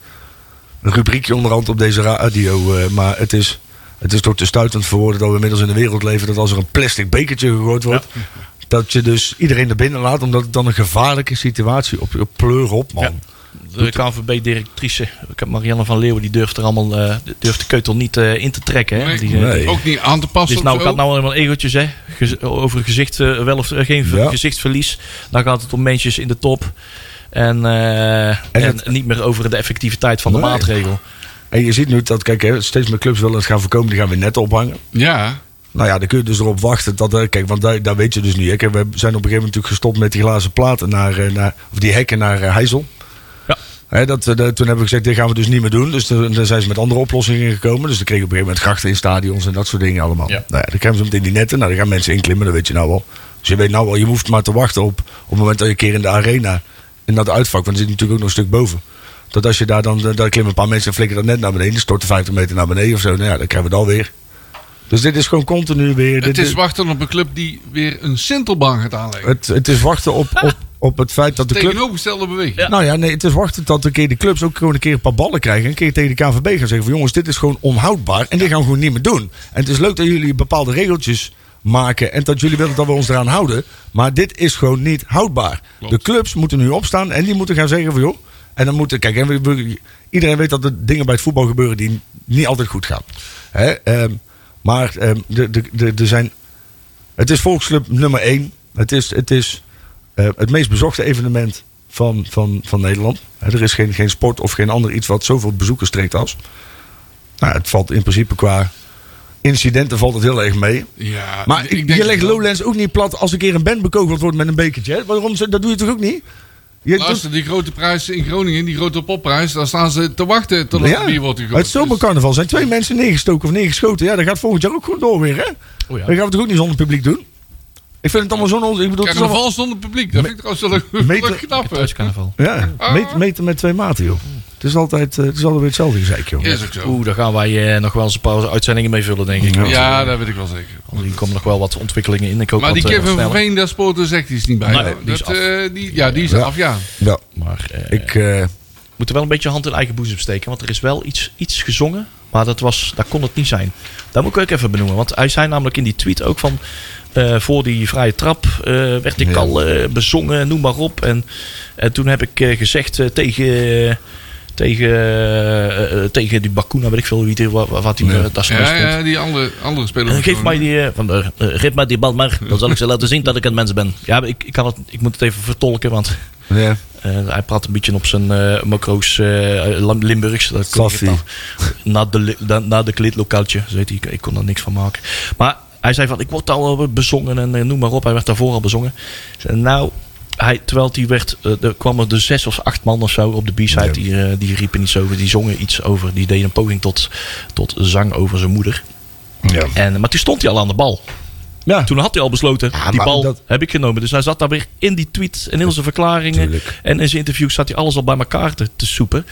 Speaker 4: rubriekje onderhand op deze radio. eh, maar het is, het is toch te stuitend voor woorden dat we inmiddels in de wereld leven. dat als er een plastic bekertje gegooid wordt. dat je dus iedereen naar binnen laat. omdat het dan een gevaarlijke situatie op je pleur op, man.
Speaker 3: De KNVB-directrice Marianne van Leeuwen die durft er allemaal eh, durft de keutel niet eh, in te trekken. Hè?
Speaker 2: Nee,
Speaker 3: Die, eh,
Speaker 4: Nee.
Speaker 2: Ook niet aan te passen.
Speaker 3: Dus nou
Speaker 2: of
Speaker 3: gaat
Speaker 2: zo.
Speaker 3: nou helemaal egeltjes hè? Gez- over gezicht, eh, wel of eh, geen ver-
Speaker 4: Ja.
Speaker 3: gezichtsverlies. Dan gaat het om mensjes in de top. En, eh, en,
Speaker 4: het-
Speaker 3: niet meer over de effectiviteit van de
Speaker 4: Nee.
Speaker 3: maatregel.
Speaker 4: En je ziet nu dat, kijk, hè, steeds meer clubs willen het gaan voorkomen. die gaan weer net ophangen.
Speaker 2: Ja,
Speaker 4: Nou ja, dan kun je dus erop wachten. Dat, eh, kijk, want daar, daar weet je dus niet. Hè. Kijk, we zijn op een gegeven moment natuurlijk gestopt met die glazen platen naar, eh, naar of die hekken naar eh, Heijzel.
Speaker 3: Ja.
Speaker 4: Hè, dat, eh, dat- toen hebben we gezegd, dit gaan we dus niet meer doen. Dus toen- daar zijn ze met andere oplossingen gekomen. Dus dan kregen we op een gegeven moment grachten in stadions en dat soort dingen allemaal.
Speaker 3: Ja.
Speaker 4: Nou ja, dan krijgen ze meteen die netten. Nou, dan gaan mensen inklimmen, dat weet je nou al. Dus je weet nou al, je hoeft maar te wachten op, op het moment dat je een keer in de arena, in dat uitvak, want er zit natuurlijk ook nog een stuk boven. Dat als je daar dan, eh, daar klimmen een paar mensen en flikkeren dat net naar beneden. Die storten 50 meter naar beneden of zo. Nou ja, dan krijgen we dat weer. Dus dit is gewoon continu weer.
Speaker 2: het
Speaker 4: dit
Speaker 2: is wachten op een club die weer een Sintelbaan gaat aanleggen.
Speaker 4: het, het is wachten op, op, op het feit dat de club...
Speaker 2: Tegenovergestelde beweging.
Speaker 3: Ja.
Speaker 4: Nou ja, nee, het is wachten tot een keer de clubs ook gewoon een keer een paar ballen krijgen. En een keer tegen de KNVB gaan zeggen van jongens, dit is gewoon onhoudbaar. En dit gaan we gewoon niet meer doen. En het is leuk dat jullie bepaalde regeltjes maken. En dat jullie willen dat we ons eraan houden. Maar dit is gewoon niet houdbaar.
Speaker 2: Klopt.
Speaker 4: De clubs moeten nu opstaan en die moeten gaan zeggen van joh. En dan moeten, kijk, en we- we- iedereen weet dat er dingen bij het voetbal gebeuren die niet altijd goed gaan. Hè? ehm, maar ehm, de- de- de- er zijn het is volksclub nummer 1. Het is, het, is eh, het meest bezochte evenement van, van, van Nederland. Hè, Er is geen, geen sport of geen ander iets wat zoveel bezoekers trekt als. Nou, het valt in principe qua incidenten valt het heel erg mee.
Speaker 2: Ja,
Speaker 4: Maar
Speaker 2: ik- ik denk
Speaker 4: je
Speaker 2: het
Speaker 4: legt
Speaker 2: wel.
Speaker 4: Lowlands ook niet plat als een keer een band bekogeld wordt met een bekertje. hè? Waarom, ze- dat doe je toch ook niet? Je doet-
Speaker 2: Luister, die grote prijs in Groningen, die grote popprijs, daar staan ze te wachten tot er bier wordt Dus gegooid.
Speaker 4: het zomercarnaval zijn twee mensen neergestoken of neergeschoten. Ja, dat gaat volgend jaar ook gewoon door weer, hè?
Speaker 3: Oh ja.
Speaker 4: Dat gaan we toch ook niet zonder publiek doen? Ik vind het allemaal zo'n onzin. Ik bedoel,
Speaker 2: Dus
Speaker 4: het is allemaal-
Speaker 2: carnaval zonder publiek, dat vind ik trouwens wel leuk,
Speaker 4: Meter-
Speaker 2: leuk knap. hè.
Speaker 3: Thuiscarnaval.
Speaker 4: Ja, meet- meten met twee maten, joh. Het is altijd, eh, het is altijd weer hetzelfde gezeik, joh.
Speaker 2: Is ook zo.
Speaker 3: Oeh, daar gaan wij eh, nog wel eens een paar uitzendingen mee vullen, denk ik.
Speaker 4: Ja.
Speaker 2: Ja, dat weet ik wel zeker.
Speaker 3: Hier komen nog wel wat ontwikkelingen in. Ik hoop
Speaker 2: Maar
Speaker 3: dat,
Speaker 2: die
Speaker 3: eh,
Speaker 2: Kevin
Speaker 3: sneller.
Speaker 2: van Veen, daar spoort er zegt iets niet bij.
Speaker 3: Nee,
Speaker 2: hoor.
Speaker 3: die is
Speaker 2: Dat,
Speaker 3: af.
Speaker 2: eh, die- ja, die is
Speaker 4: Ja.
Speaker 2: af, ja.
Speaker 4: Ja,
Speaker 3: Maar eh,
Speaker 4: ik, eh,
Speaker 3: we moeten wel een beetje hand in eigen boezem steken. Want er is wel iets, iets gezongen. Maar dat, was, dat kon het niet zijn. Dat moet ik ook even benoemen. Want hij zei namelijk in die tweet ook van... eh, voor die vrije trap eh, werd ik
Speaker 4: Ja.
Speaker 3: al eh, bezongen, noem maar op. En eh, toen heb ik eh, gezegd eh, tegen... tegen, eh, eh, tegen die Bakuna, weet ik veel wie die, wat, wat die eh, daar stond.
Speaker 2: Ja, ja, die andere, andere speler.
Speaker 3: Eh, Geef
Speaker 2: Gewoon-
Speaker 3: mij die, eh, van, eh, eh, geef mij die bal maar, dan zal ik ze laten zien dat ik een mens ben. Ja, ik, ik, kan het, ik moet het even vertolken, want
Speaker 4: ja.
Speaker 3: eh, hij praat een beetje op zijn eh macro's eh, Lam- Limburgs. Dat kon ik
Speaker 4: Klaffie.
Speaker 3: dan. Na de, li- na, na de kleedlokaaltje, zo heet die. Ik, ik kon daar niks van maken. Maar hij zei van, ik word daar al bezongen en eh, noem maar op. Hij werd daarvoor al bezongen. Ik zei, nou, hij, terwijl die werd, eh, er kwamen er zes of acht man of zo op de b-side.
Speaker 4: Ja.
Speaker 3: Die, eh, die riepen iets over, die zongen iets over. Die deden een poging tot, tot zang over zijn moeder.
Speaker 4: ja.
Speaker 3: En, maar toen stond hij al aan de bal.
Speaker 4: Ja.
Speaker 3: Toen had hij al besloten,
Speaker 4: Ja,
Speaker 3: die
Speaker 4: maar
Speaker 3: bal
Speaker 4: dat-
Speaker 3: heb ik genomen. Dus hij zat daar weer in die tweet en in zijn verklaringen.
Speaker 4: Tuurlijk.
Speaker 3: En in zijn interviews zat hij alles al bij elkaar te, te soepen.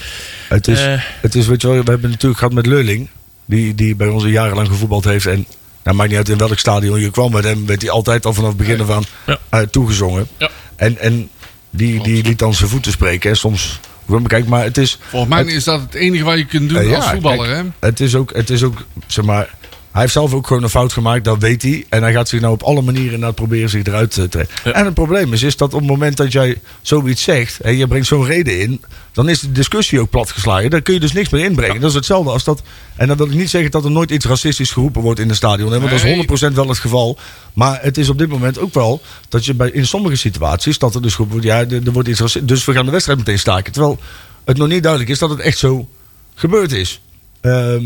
Speaker 4: Het, is,
Speaker 3: eh.
Speaker 4: het is, weet je wel, we hebben natuurlijk gehad met Leuling. Die, die bij ons jarenlang gevoetbald heeft. En nou, maakt niet uit in welk stadion je kwam met hem. Werd hij altijd al vanaf het begin ervan
Speaker 3: Ja.
Speaker 4: toegezongen.
Speaker 3: Ja.
Speaker 4: En, en die, die liet dan zijn voeten spreken. En soms, kijk, maar het is...
Speaker 2: Volgens mij is dat het enige wat je kunt doen
Speaker 4: Eh,
Speaker 2: als
Speaker 4: ja,
Speaker 2: voetballer,
Speaker 4: kijk,
Speaker 2: hè?
Speaker 4: Het is, ook, het is ook, zeg maar... Hij heeft zelf ook gewoon een fout gemaakt, dat weet hij. En hij gaat zich nou op alle manieren naar proberen zich eruit te trekken.
Speaker 3: Ja.
Speaker 4: En het probleem is, is dat op het moment dat jij zoiets zegt... en je brengt zo'n reden in, dan is de discussie ook platgeslagen. Daar kun je dus niks meer inbrengen. Dat is hetzelfde als dat... En dan wil ik niet zeggen dat er nooit iets racistisch geroepen wordt in een stadion. Hè, want dat
Speaker 2: Nee.
Speaker 4: is 100% 100% wel het geval. Maar het is op dit moment ook wel dat je bij, in sommige situaties dat er dus goed wordt. Ja, er, er wordt iets raci- Dus we gaan de wedstrijd meteen staken. Terwijl het nog niet duidelijk is dat het echt zo gebeurd is. Ehm,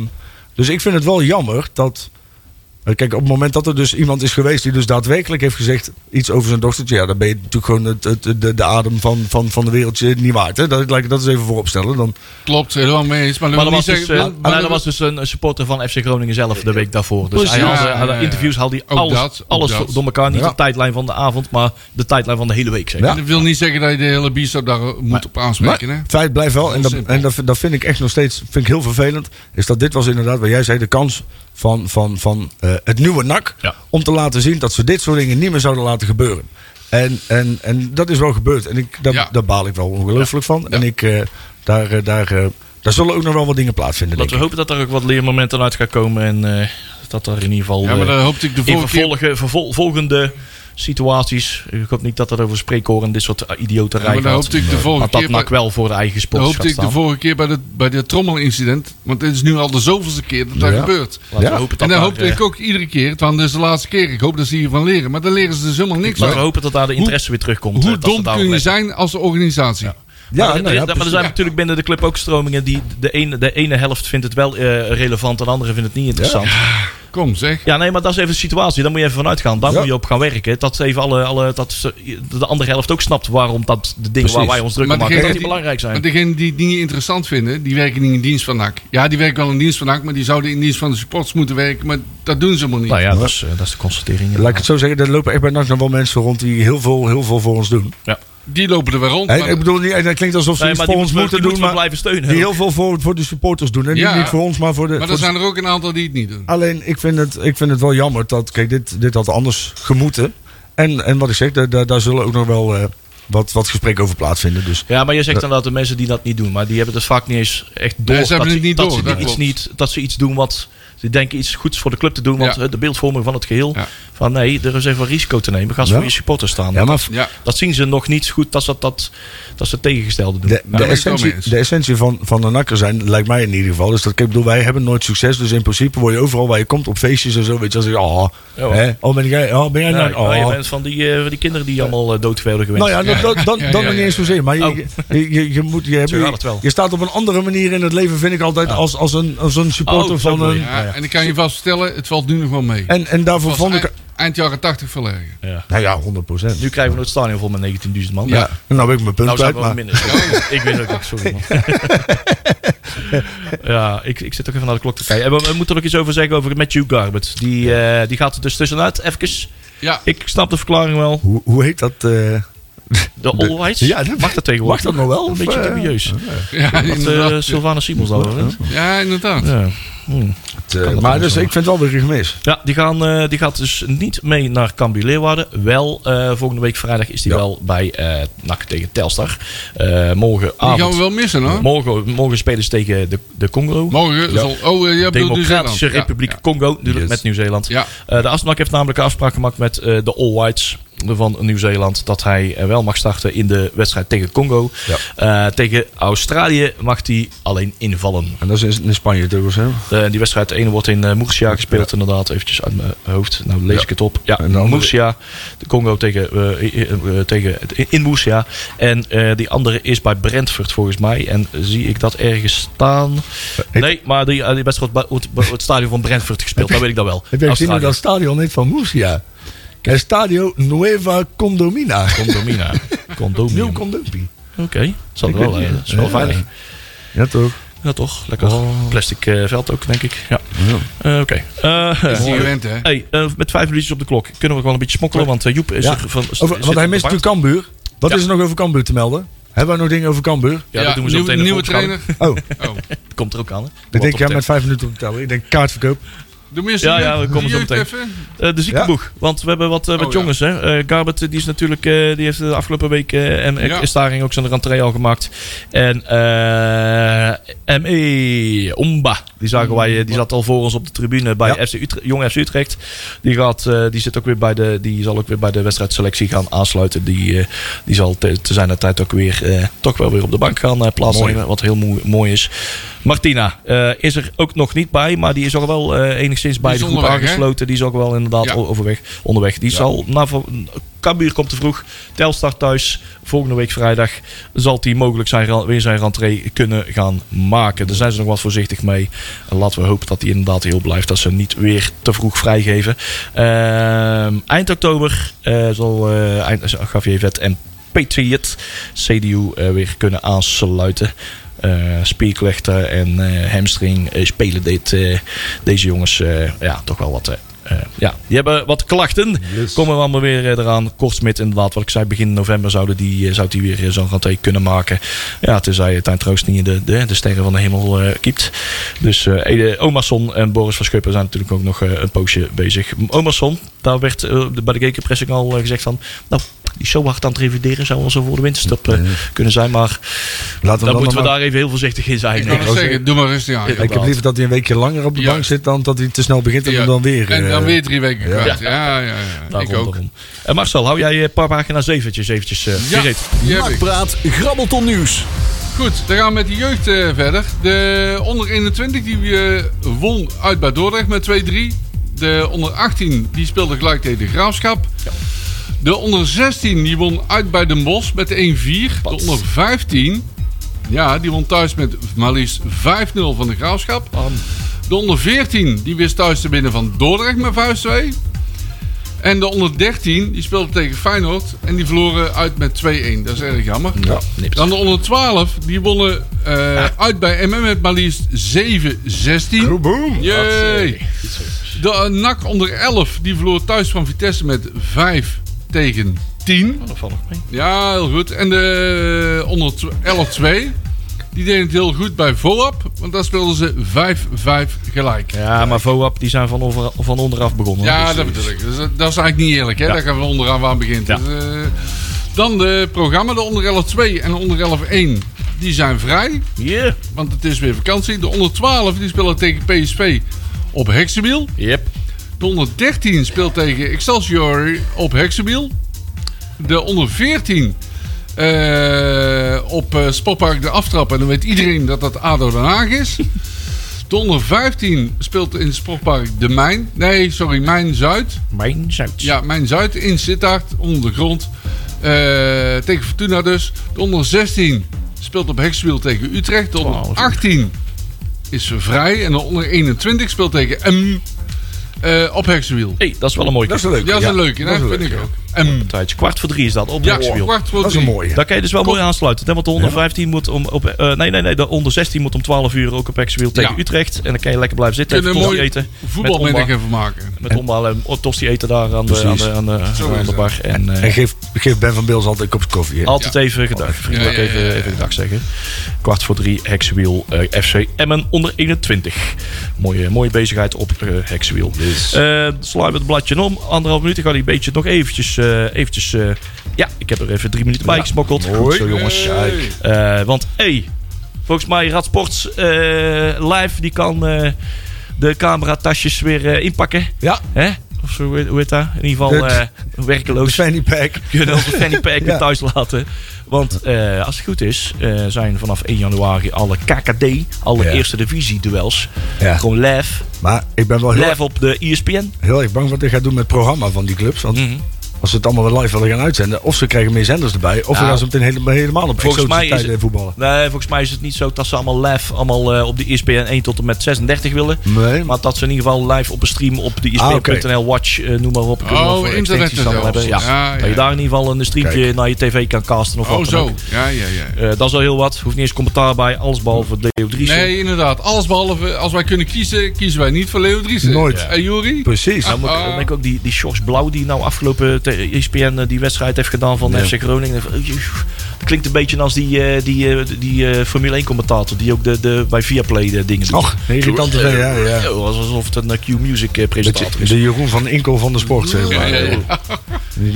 Speaker 4: dus ik vind het wel jammer dat. eh, Kijk, op het moment dat er dus iemand is geweest die dus daadwerkelijk heeft gezegd iets over zijn dochtertje, ja, dan ben je natuurlijk gewoon het, het- de, de adem van, van, van de wereldje niet waard. Hè? Dat, laat ik dat eens even vooropstellen. Dan,
Speaker 2: Klopt, helemaal mee eens. Maar,
Speaker 3: Maar
Speaker 2: laten
Speaker 3: er
Speaker 2: we
Speaker 3: was,
Speaker 2: niet
Speaker 3: dus,
Speaker 2: zeggen-
Speaker 3: eh,
Speaker 2: laten we-
Speaker 3: nee, er was dus een supporter van FC Groningen zelf de week daarvoor. Dus hij
Speaker 2: Precies.
Speaker 3: had, eh,
Speaker 2: Ja,
Speaker 3: had
Speaker 2: ja, ja.
Speaker 3: interviews, haalde hij
Speaker 2: Ook
Speaker 3: alles,
Speaker 2: dat, ook
Speaker 3: alles
Speaker 2: dat.
Speaker 3: door elkaar. Niet
Speaker 4: Ja.
Speaker 3: de tijdlijn van de avond, maar de tijdlijn van de hele week. Zeg.
Speaker 4: Ja.
Speaker 2: Dat wil niet zeggen dat je de hele bistop daar moet op aanspreken,
Speaker 4: Maar
Speaker 2: hè?
Speaker 4: het feit blijft wel, en, dat, en dat, dat vind ik echt nog steeds vind ik heel vervelend. Is dat dit was inderdaad wat jij zei, de kans van, van, van eh, het nieuwe NAC.
Speaker 3: Ja.
Speaker 4: Om te laten zien dat ze dit soort dingen niet meer zouden laten gebeuren. En, en, en dat is wel gebeurd. En ik, daar,
Speaker 2: Ja.
Speaker 4: daar baal ik wel ongelooflijk van. En
Speaker 2: Ja.
Speaker 4: ik, eh, daar, eh, daar, eh, daar zullen ook nog wel wat dingen plaatsvinden.
Speaker 3: Laten we
Speaker 4: denk ik.
Speaker 3: hopen dat er ook wat leermomenten uit gaan komen. En eh, dat er in ieder geval
Speaker 2: Ja, maar
Speaker 3: eh,
Speaker 2: daar hoopte ik de
Speaker 3: in
Speaker 2: vorige keer...
Speaker 3: vervolgen, vervol- volgende situaties. Ik hoop niet dat er over spreekkoren en dit soort idioten
Speaker 2: Ja, maar daar
Speaker 3: gaat.
Speaker 2: hoopte ik de vorige
Speaker 3: Want dat
Speaker 2: keer... bij-
Speaker 3: maakt wel voor de eigen
Speaker 2: Dat
Speaker 3: sport.
Speaker 2: hoopte ik de vorige keer bij, het bij dit trommelincident. Want dit is nu al de zoveelste keer dat dat
Speaker 4: Ja.
Speaker 2: gebeurt.
Speaker 3: Laten we
Speaker 4: Ja.
Speaker 3: hopen dat
Speaker 2: En daar
Speaker 3: daar,
Speaker 2: hoopte
Speaker 3: eh,
Speaker 2: ik ook iedere keer. Want dit is de laatste keer. Ik hoop dat ze hiervan leren. Maar daar leren ze dus helemaal niks
Speaker 3: Laten we
Speaker 2: van.
Speaker 3: hopen dat daar de interesse weer terugkomt. eh,
Speaker 2: Hoe
Speaker 3: dat ze
Speaker 2: dom
Speaker 3: daar
Speaker 2: kun je
Speaker 3: ook-
Speaker 2: zijn als organisatie?
Speaker 4: Ja,
Speaker 3: maar, er-
Speaker 4: nou
Speaker 3: er-
Speaker 4: ja,
Speaker 3: maar er
Speaker 4: precies.
Speaker 3: zijn natuurlijk binnen de club ook stromingen die de ene, de ene helft vindt het wel eh, relevant en de andere vindt het niet interessant. Ja.
Speaker 2: Kom zeg.
Speaker 3: nee, maar dat is even de situatie. Daar moet je even vanuit gaan. Daar
Speaker 4: Ja.
Speaker 3: moet je op gaan werken. Dat, ze even alle, alle, dat ze- de andere helft ook snapt waarom dat de dingen waar
Speaker 4: Precies.
Speaker 3: wij ons druk om maken,
Speaker 2: degene
Speaker 3: dat die belangrijk zijn.
Speaker 2: Maar degene die het niet interessant vinden, die werken niet in dienst van NAC. Ja, die werken wel in dienst van NAC, maar die zouden in dienst van de supports moeten werken. Maar dat doen ze helemaal niet.
Speaker 3: nou ja, dat is, eh, dat is de constatering.
Speaker 4: Laat ik het zo zeggen, er lopen echt bij NAC nog wel mensen rond die heel veel, heel veel voor ons doen.
Speaker 2: Die lopen er weer rond.
Speaker 4: En,
Speaker 2: maar-
Speaker 4: ik bedoel, niet- en dat klinkt alsof ze
Speaker 3: Nee,
Speaker 4: iets
Speaker 3: maar
Speaker 4: voor
Speaker 3: die
Speaker 4: ons
Speaker 3: moeten we-
Speaker 4: moeten
Speaker 3: die
Speaker 4: doen,
Speaker 3: moeten we
Speaker 4: maar
Speaker 3: blijven steunen.
Speaker 4: die heel veel voor, voor de supporters doen. En
Speaker 2: Ja.
Speaker 4: niet, niet voor ons, maar voor de,
Speaker 2: maar
Speaker 4: voor Ah.
Speaker 2: er
Speaker 4: de
Speaker 2: zijn er ook een aantal die het niet doen.
Speaker 4: Alleen, ik vind het, ik vind het wel jammer dat. Kijk, dit, dit had anders gemoeten. En, en wat ik zeg, daar, daar, daar zullen ook nog wel. eh, wat, wat gesprekken over plaatsvinden. Dus
Speaker 3: Ja, maar je zegt dan dat de mensen die dat niet doen, maar die hebben het vaak niet eens echt door.
Speaker 2: Nee, ze hebben
Speaker 3: dat,
Speaker 2: het niet
Speaker 3: dat
Speaker 2: door,
Speaker 3: ze
Speaker 2: dat
Speaker 3: iets
Speaker 2: klopt.
Speaker 3: niet, dat ze iets doen wat ze denken iets goeds voor de club te doen, want
Speaker 2: Ja.
Speaker 3: hè, de beeldvorming van het geheel.
Speaker 2: Ja.
Speaker 3: Van nee, er is even wat risico te nemen. Ga eens
Speaker 4: Ja.
Speaker 3: voor je supporters staan.
Speaker 4: ja, maar v-
Speaker 2: Ja.
Speaker 3: Dat zien ze nog niet goed dat ze dat, dat ze het tegengestelde doen.
Speaker 4: de,
Speaker 3: Ja.
Speaker 4: de,
Speaker 2: ben ik het wel mee
Speaker 4: essentie,
Speaker 2: eens.
Speaker 4: de essentie van, van de nakker zijn, lijkt mij in ieder geval, is dat ik bedoel, wij hebben nooit succes. Dus in principe word je overal waar je komt op feestjes en zo. Weet je, als ik, oh,
Speaker 3: Ja, hoor.
Speaker 4: hè, oh, ben jij, oh, ben jij nou,
Speaker 3: Ja,
Speaker 4: oh.
Speaker 3: ja, je bent van die, eh, van die kinderen die allemaal eh, doodverder geweest
Speaker 4: Nou ja, dan, dan, dan,
Speaker 2: Ja, ja,
Speaker 4: dan
Speaker 2: ja,
Speaker 4: nog niet
Speaker 2: ja.
Speaker 4: eens zozeer. Maar je,
Speaker 3: Oh.
Speaker 4: je, je, je moet, je, hebt-
Speaker 3: Zo gaat het wel.
Speaker 4: je staat op een andere manier in het leven, vind ik altijd, als, als, een, als een supporter
Speaker 3: Oh, zo
Speaker 4: van
Speaker 3: bedoel
Speaker 4: een...
Speaker 3: je.
Speaker 2: Ja, en ik kan je vast vertellen, het valt nu nog wel mee.
Speaker 4: En, en daarvoor
Speaker 2: Het was
Speaker 4: vond ik...
Speaker 2: eind, eind jaren 80 verlegen.
Speaker 4: Nou ja, 100 procent.
Speaker 3: Nu krijgen we het stadion vol met 19.000 man.
Speaker 4: Ja. Nou ben ik mijn punt
Speaker 3: Nou zijn
Speaker 4: uit,
Speaker 3: we wel
Speaker 4: maar...
Speaker 3: minder. Ik weet het ook, sorry man. ja, ik, ik zit toch even naar de klok te kijken. En we, we moeten er ook iets over zeggen over Matthew Garbett. Die, eh, die gaat er dus tussenuit, even.
Speaker 2: Ja,
Speaker 3: Ik snap de verklaring wel.
Speaker 4: Hoe, hoe heet dat? eh,
Speaker 3: De All Whites?
Speaker 4: Ja, dat-
Speaker 3: mag dat tegenwoordig.
Speaker 4: mag dat nog wel?
Speaker 3: Een beetje
Speaker 4: Of, eh,
Speaker 3: dubieus.
Speaker 2: ja,
Speaker 3: Wat eh
Speaker 2: inderdaad.
Speaker 3: Sylvana Simons daarover. hè?
Speaker 2: ja, inderdaad.
Speaker 3: Ja.
Speaker 4: het, eh, maar dus, ik vind het wel weer een gemis.
Speaker 3: Ja, die, gaan, eh, die gaat dus niet mee naar Cambuur Leeuwarden. Wel, eh, volgende week vrijdag is die
Speaker 4: Ja.
Speaker 3: wel bij eh NAC tegen Telstar. Eh
Speaker 2: Die gaan
Speaker 3: morgenavond.
Speaker 2: we wel missen hoor.
Speaker 3: Morgen, morgen spelen ze tegen de, de Congo.
Speaker 2: Morgen zal... Oh, eh, jij bedoelt Nieuw-Zeeland.
Speaker 3: Democratische Republiek Congo, natuurlijk
Speaker 4: Yes.
Speaker 3: met Nieuw-Zeeland.
Speaker 2: Ja.
Speaker 3: Eh, de Asnak heeft namelijk een afspraak gemaakt met eh, de All Whites van Nieuw-Zeeland. Dat hij eh, wel mag starten in de wedstrijd tegen Congo. Eh, tegen Australië mag hij alleen invallen.
Speaker 4: En dat is in Spanje toch zo?
Speaker 3: Eh, die wedstrijd, de ene wordt in eh, Murcia gespeeld inderdaad. Eventjes uit mijn hoofd. Nou lees
Speaker 4: Ja.
Speaker 3: ik het op. Ja,
Speaker 4: En de andere-
Speaker 3: Murcia. De Congo tegen, eh, eh, eh, tegen, in- in Murcia. En eh, die andere is bij Brentford volgens mij. En zie ik dat ergens staan? Nee, maar die, eh, die wedstrijd wordt bij- wordt bij het stadion van Brentford gespeeld. Dat weet ik dan wel.
Speaker 4: Heb je gezien hoe
Speaker 3: Australië.
Speaker 4: dat stadion heet van Murcia? Het Stadio Nueva Condomina.
Speaker 3: Condomina. Condomina.
Speaker 4: Nieuw
Speaker 3: Oké,
Speaker 4: Condompi.
Speaker 3: zal
Speaker 4: Ik
Speaker 3: wel.
Speaker 4: weet
Speaker 3: eh,
Speaker 4: niet.
Speaker 3: dat is wel
Speaker 4: Ja. Oh.
Speaker 3: veilig.
Speaker 4: Ja toch?
Speaker 3: Ja, toch? Lekker. Plastic eh, veld ook, denk ik. Ja. Eh, Oké. Eh,
Speaker 2: Dat is niet gewend, hè?
Speaker 3: Hey, eh, met vijf minuutjes op de klok kunnen we wel een beetje smokkelen, want eh, Joep is
Speaker 4: Ja.
Speaker 3: er van.
Speaker 4: Over- want hij mist natuurlijk Cambuur. Wat
Speaker 3: Ja.
Speaker 4: is er nog over Cambuur te melden? Hebben we nog dingen over Cambuur?
Speaker 3: Ja, dat doen we zo
Speaker 2: nieuw-
Speaker 3: meteen.
Speaker 2: Nieuwe
Speaker 3: de volgende
Speaker 2: trainer. Oh.
Speaker 4: Oh,
Speaker 3: gang. Komt er ook aan. Hè?
Speaker 4: ik
Speaker 3: Wat
Speaker 4: denk
Speaker 3: op
Speaker 4: ja,
Speaker 3: de-
Speaker 4: met vijf minuten op de teller. Ik denk kaartverkoop.
Speaker 2: Doe meer
Speaker 3: Ja, ja, we komen zo meteen.
Speaker 2: Even.
Speaker 3: Eh, de ziekenboeg. Want we hebben wat, eh, wat
Speaker 2: Oh, ja.
Speaker 3: jongens. Hè? Eh, Garbert eh, die is natuurlijk, eh, die heeft de afgelopen week eh, en
Speaker 2: Ja.
Speaker 3: is daarin ook zijn rentree al gemaakt. En eh ME Omba, die zagen wij, eh, die zat al voor ons op de tribune bij
Speaker 4: Ja.
Speaker 3: FC Utrecht, jong FC Utrecht. Die, gaat, eh, die zit ook weer bij de, die zal ook weer bij de wedstrijdselectie gaan aansluiten. Die, eh, die zal te, te zijn tijd ook weer eh, toch wel weer op de bank gaan eh, plaatsnemen. Wat heel mooi, mooi is. Martina eh, is er ook nog niet bij, maar die is al wel eh, enigszins bij
Speaker 2: is
Speaker 3: de groep
Speaker 2: onderweg, hè?
Speaker 3: aangesloten. Die is ook wel inderdaad
Speaker 2: Ja.
Speaker 3: o- overweg, onderweg. Die zal na vo- Cambuur komt te vroeg. Telstar thuis. Volgende week vrijdag zal hij mogelijk zijn, ra- weer zijn rentree kunnen gaan maken. Daar zijn ze nog wat voorzichtig mee. En laten we hopen dat hij inderdaad heel blijft. Dat ze hem niet weer te vroeg vrijgeven. Ehm, eind oktober eh, zal eh eind, Javier Vet en Patriot CDU eh, weer kunnen aansluiten. Eh spierklechten en eh, hamstring eh, spelen dit, eh, deze jongens eh, ja, toch wel wat. eh, eh, ja, die hebben wat klachten. Komen we allemaal weer eh, eraan. Kortsmit inderdaad, wat ik zei, begin november zouden die, eh, zou die weer eh, zo'n rentree kunnen maken. Ja, tenzij het eind troost niet in de, de, de sterren van de hemel eh, kiept. Dus eh Ede Omarsson en Boris van Schuppen zijn natuurlijk ook nog eh, een poosje bezig. Omarsson, daar werd eh, bij de Gekenpressing al eh, gezegd van... Nou, die is zo hard aan het revideren zou wel zo voor de winterstop eh, kunnen zijn. Maar
Speaker 4: Laten we
Speaker 3: dan
Speaker 4: dan
Speaker 3: moeten we
Speaker 4: maar-
Speaker 3: daar even heel voorzichtig in zijn.
Speaker 2: Ik kan
Speaker 3: Ja.
Speaker 2: het zeggen, doe maar rustig aan.
Speaker 4: Ik heb liever dat hij een weekje langer op de
Speaker 2: Ja.
Speaker 4: bank zit dan dat hij te snel begint en
Speaker 2: Ja.
Speaker 4: hem dan weer...
Speaker 2: En dan
Speaker 4: eh,
Speaker 2: weer drie weken
Speaker 4: Ja.
Speaker 2: kwijt. Ja, ja, ja.
Speaker 3: Daarom,
Speaker 2: Ik ook.
Speaker 3: daarom. Eh, Marcel, hou jij eh, paar pagina zeventjes eventjes eh
Speaker 2: Ja,
Speaker 3: gereed.
Speaker 2: die heb ik.
Speaker 1: Nakpraat, grabbelton nieuws.
Speaker 2: Goed, dan gaan we met de jeugd eh, verder. De onder 21 die eh, won uit bij Dordrecht met 2-3. De onder 18 die speelde gelijk tegen de Graafschap. De onder 16 die won uit bij Den Bosch met 1-4. De
Speaker 3: Pats.
Speaker 2: onder 15 ja, die won thuis met maar liefst 5-0 van de Graafschap. De onder 14 die wist thuis te winnen van Dordrecht met 5-2. En de onder 13 die speelde tegen Feyenoord en die verloren uit met 2-1. Dat is erg jammer.
Speaker 3: Ja, nipt.
Speaker 2: Dan de onder 12, die wonnen eh, uit bij MM met maar liefst 7-16.
Speaker 4: Boom!
Speaker 3: eh,
Speaker 2: Jee! De eh, NAC onder 11, die verloor thuis van Vitesse met 5 tegen 10.
Speaker 3: Oh, dat valt nog mee.
Speaker 2: Ja, heel goed. En de eh, onder tw- 11-2, die deden het heel goed bij VOAP, want daar speelden ze 5-5 gelijk. Ja,
Speaker 3: Ja, maar VOAP die zijn van, over, van onderaf begonnen. Dus,
Speaker 2: dat
Speaker 3: eh,
Speaker 2: bedoel ik. Dus, dat dat is eigenlijk niet eerlijk, hè?
Speaker 3: Ja.
Speaker 2: Daar gaan we onderaan aan beginnen.
Speaker 3: Ja.
Speaker 2: Dus, eh, Dan de programma, de onder 11 2 en de onder 11 1. Die zijn vrij,
Speaker 3: Yeah.
Speaker 2: want het is weer vakantie. De onder 12 die spelen tegen PSV op Hexenbiel.
Speaker 3: Yep.
Speaker 2: De onder 13 speelt tegen Excelsior op Hexenbiel. De onder 14 eh, op eh, Sportpark de Aftrap. En dan weet iedereen dat dat ADO Den Haag is. De onder 15 speelt in Sportpark de Mijn. Nee, sorry, Mijn Zuid.
Speaker 3: Mijn Zuid.
Speaker 2: Ja, Mijn Zuid in Sittard, onder de grond. Eh, tegen Fortuna dus. De onder 16 speelt op Hexenbiel tegen Utrecht. De onder
Speaker 3: Twaalf.
Speaker 2: 18 is vrij. En de onder 21 speelt tegen M eh, op Hexenwiel.
Speaker 3: Hey, dat is wel een mooi
Speaker 4: Dat is wel leuk.
Speaker 2: Ja, dat is een leuke,
Speaker 4: dat
Speaker 2: hè?
Speaker 4: is
Speaker 2: vind
Speaker 4: leuk,
Speaker 2: ik
Speaker 4: ja.
Speaker 2: ook. En
Speaker 3: tijdje. Kwart voor drie is dat op
Speaker 2: ja,
Speaker 3: het wiel.
Speaker 2: kwart voor
Speaker 4: Dat is een
Speaker 2: drie.
Speaker 4: mooie.
Speaker 3: Daar kan je dus wel mooi aansluiten. Hè? Want de 115 moet om op. eh, nee, nee, nee. De onder 16 moet om 12 uur ook op Exwiel tegen
Speaker 2: Ja.
Speaker 3: Utrecht. En dan kan je lekker blijven zitten.
Speaker 2: Kunnen
Speaker 3: Even
Speaker 2: we een
Speaker 3: tosti
Speaker 2: mooi
Speaker 3: eten.
Speaker 2: voetbalmiddag
Speaker 3: Met Omba.
Speaker 2: even maken.
Speaker 3: Met Omba en tosti eten daar aan de, aan de, aan de,
Speaker 2: Zo is
Speaker 3: aan de
Speaker 2: het.
Speaker 3: bar. En, eh,
Speaker 4: En geef, geef Ben van Beels altijd een kopje koffie. hè?
Speaker 3: altijd even gedag. Vriendelijk
Speaker 2: Ja, ja, ja, ja,
Speaker 3: even,
Speaker 2: ja.
Speaker 3: even gedag zeggen. Kwart voor drie, Hexwiel, eh, FC Emmen onder 21. Mooie, mooie bezigheid op eh Hexwiel. Eh, slaan we het bladje om. Anderhalf minuut. Dan ga ik een beetje nog eventjes... eh, eventjes eh, ja, ik heb er even drie minuten bij gesmokkeld.
Speaker 4: Goed zo, jongens.
Speaker 2: Hey.
Speaker 3: Eh, want hey, volgens mij Rad Sports eh, Live die kan eh, de cameratasjes weer eh, inpakken.
Speaker 4: Ja,
Speaker 3: Hè? Of zo, hoe heet- hoe heet dat? In ieder geval
Speaker 4: Het-
Speaker 3: eh, werkeloos
Speaker 4: Fanny Pack.
Speaker 3: kunnen onze fanny pack weer
Speaker 4: Ja.
Speaker 3: thuis laten. Want eh, als het goed is, eh, zijn vanaf 1 januari alle KKD, alle
Speaker 4: Ja.
Speaker 3: eerste divisie duels,
Speaker 4: Ja.
Speaker 3: gewoon live,
Speaker 4: Maar ik ben wel heel,
Speaker 3: live op de E ESPN.
Speaker 4: heel erg bang wat ik ga doen met het programma van die clubs.
Speaker 3: Mhm.
Speaker 4: Want als ze het allemaal weer live willen gaan uitzenden, of ze krijgen meer zenders erbij, of we
Speaker 3: Nou,
Speaker 4: gaan ze meteen helemaal, helemaal op
Speaker 3: volgens mij
Speaker 4: exotische
Speaker 3: is
Speaker 4: tijden
Speaker 3: het-
Speaker 4: voetballen.
Speaker 3: Nee, volgens mij is het niet zo dat ze allemaal live allemaal, eh, op de ESPN 1 tot en met 36 willen.
Speaker 4: Nee, maar
Speaker 3: Maar dat ze in ieder geval live op een stream op de E
Speaker 4: Ah, oké.
Speaker 3: ESPN.nl watch, eh, noem maar op. Ik weet
Speaker 2: Oh,
Speaker 3: niet of we
Speaker 2: internet
Speaker 3: extensies
Speaker 2: en zo.
Speaker 3: allemaal hebben. Ja.
Speaker 2: Ja, ja,
Speaker 3: Dat je
Speaker 2: ja.
Speaker 3: daar in ieder geval een streampje
Speaker 4: Kijk.
Speaker 3: naar je tv kan casten of
Speaker 2: Oh,
Speaker 3: wat dan
Speaker 2: zo.
Speaker 3: ook.
Speaker 2: Ja, ja, ja.
Speaker 3: Eh, dat is al heel wat. Hoeft niet eens commentaar bij. Alles behalve Leo Driessen.
Speaker 2: Nee, inderdaad. Alles behalve, als wij kunnen kiezen, kiezen wij niet voor Leo Driessen.
Speaker 4: Nooit.
Speaker 2: En Jury?
Speaker 4: precies.
Speaker 2: Ah,
Speaker 3: Dan moet ik-
Speaker 2: Ah.
Speaker 3: dan denk ik ook die, die Sjors Blauw die nou afgelopen te- ESPN eh, die wedstrijd heeft gedaan van FC Groningen. Eh, Dat klinkt een beetje als die, eh, die, eh, die eh, Formule 1 commentator die ook de, de, bij Viaplay de dingen doet.
Speaker 4: Och, irritante
Speaker 3: Eh,
Speaker 4: dingen, ja, ja.
Speaker 3: eh, Alsof het een eh, Q-music eh,
Speaker 4: Beetje
Speaker 3: presentator is.
Speaker 4: de Jeroen van Inkel van de sport, zeg
Speaker 2: Ja,
Speaker 4: maar.
Speaker 2: ja, ja.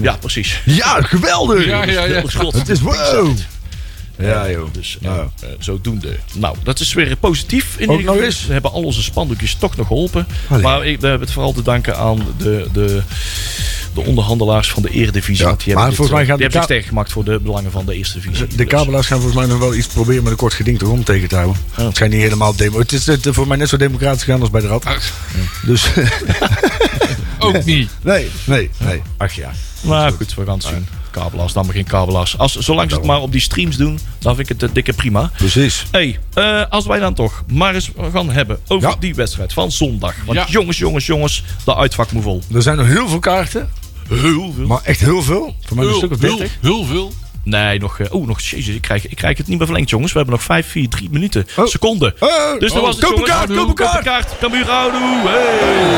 Speaker 3: Ja, precies.
Speaker 4: Ja, geweldig!
Speaker 2: Ja, ja, ja.
Speaker 3: Schot.
Speaker 4: Het is wow! Ja, joh.
Speaker 3: Dus eh,
Speaker 4: Nou.
Speaker 3: eh, zodoende. Nou, dat is weer positief. In
Speaker 4: Ook
Speaker 3: ieder geval.
Speaker 4: nog eens.
Speaker 3: We hebben al onze spandoekjes toch nog geholpen.
Speaker 4: Allee.
Speaker 3: Maar ik, we hebben het vooral te danken aan de, de, de onderhandelaars van de Eredivisie.
Speaker 4: Ja,
Speaker 3: want die
Speaker 4: maar
Speaker 3: hebben, dit,
Speaker 4: volgens mij
Speaker 3: eh,
Speaker 4: gaat
Speaker 3: die
Speaker 4: de
Speaker 3: hebben zich
Speaker 4: ka-
Speaker 3: sterk gemaakt voor de belangen van de Dus- Eerste Divisie.
Speaker 4: De kabelaars gaan volgens mij nog wel iets proberen met een kort geding erom tegen te houden. Het schijnt niet helemaal demo. Het is het, eh, voor mij net zo democratisch gaan als bij de rat.
Speaker 2: Ah,
Speaker 4: Dus
Speaker 2: Ook niet.
Speaker 4: nee, nee, nee. Ach ja.
Speaker 3: Nou goed, we gaan het zien. Kabelaars, dan maar geen kabelaars. Als, zolang ze het maar op die streams doen, dan vind ik het eh, dikke prima.
Speaker 4: Precies.
Speaker 3: hey, eh, als wij dan toch maar eens gaan hebben over
Speaker 4: Ja.
Speaker 3: die wedstrijd van zondag. Want
Speaker 2: Ja.
Speaker 3: jongens, jongens, jongens, de uitvak moet vol.
Speaker 4: Er zijn nog heel veel kaarten.
Speaker 3: Heel veel.
Speaker 4: Maar echt heel veel. Voor mij een
Speaker 2: Heel,
Speaker 4: stuk of
Speaker 2: heel,
Speaker 4: 30.
Speaker 2: heel veel.
Speaker 3: Nee, nog. eh, Oeh, nog. Jezus, ik krijg, ik krijg het niet meer verlengd, jongens. We hebben nog 5, 4, 3 minuten.
Speaker 4: Oh.
Speaker 3: Seconden.
Speaker 4: Oh,
Speaker 3: Dus er
Speaker 4: oh,
Speaker 3: was het,
Speaker 4: koop een
Speaker 3: jongens.
Speaker 4: kaart, koop een kaart.
Speaker 3: kaart. Cambuur Houdoe. Hey.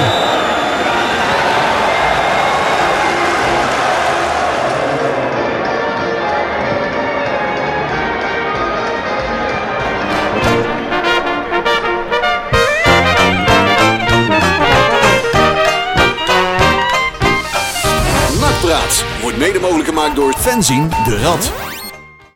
Speaker 1: Nakpraat wordt mede mogelijk gemaakt door Fenzin de Rad.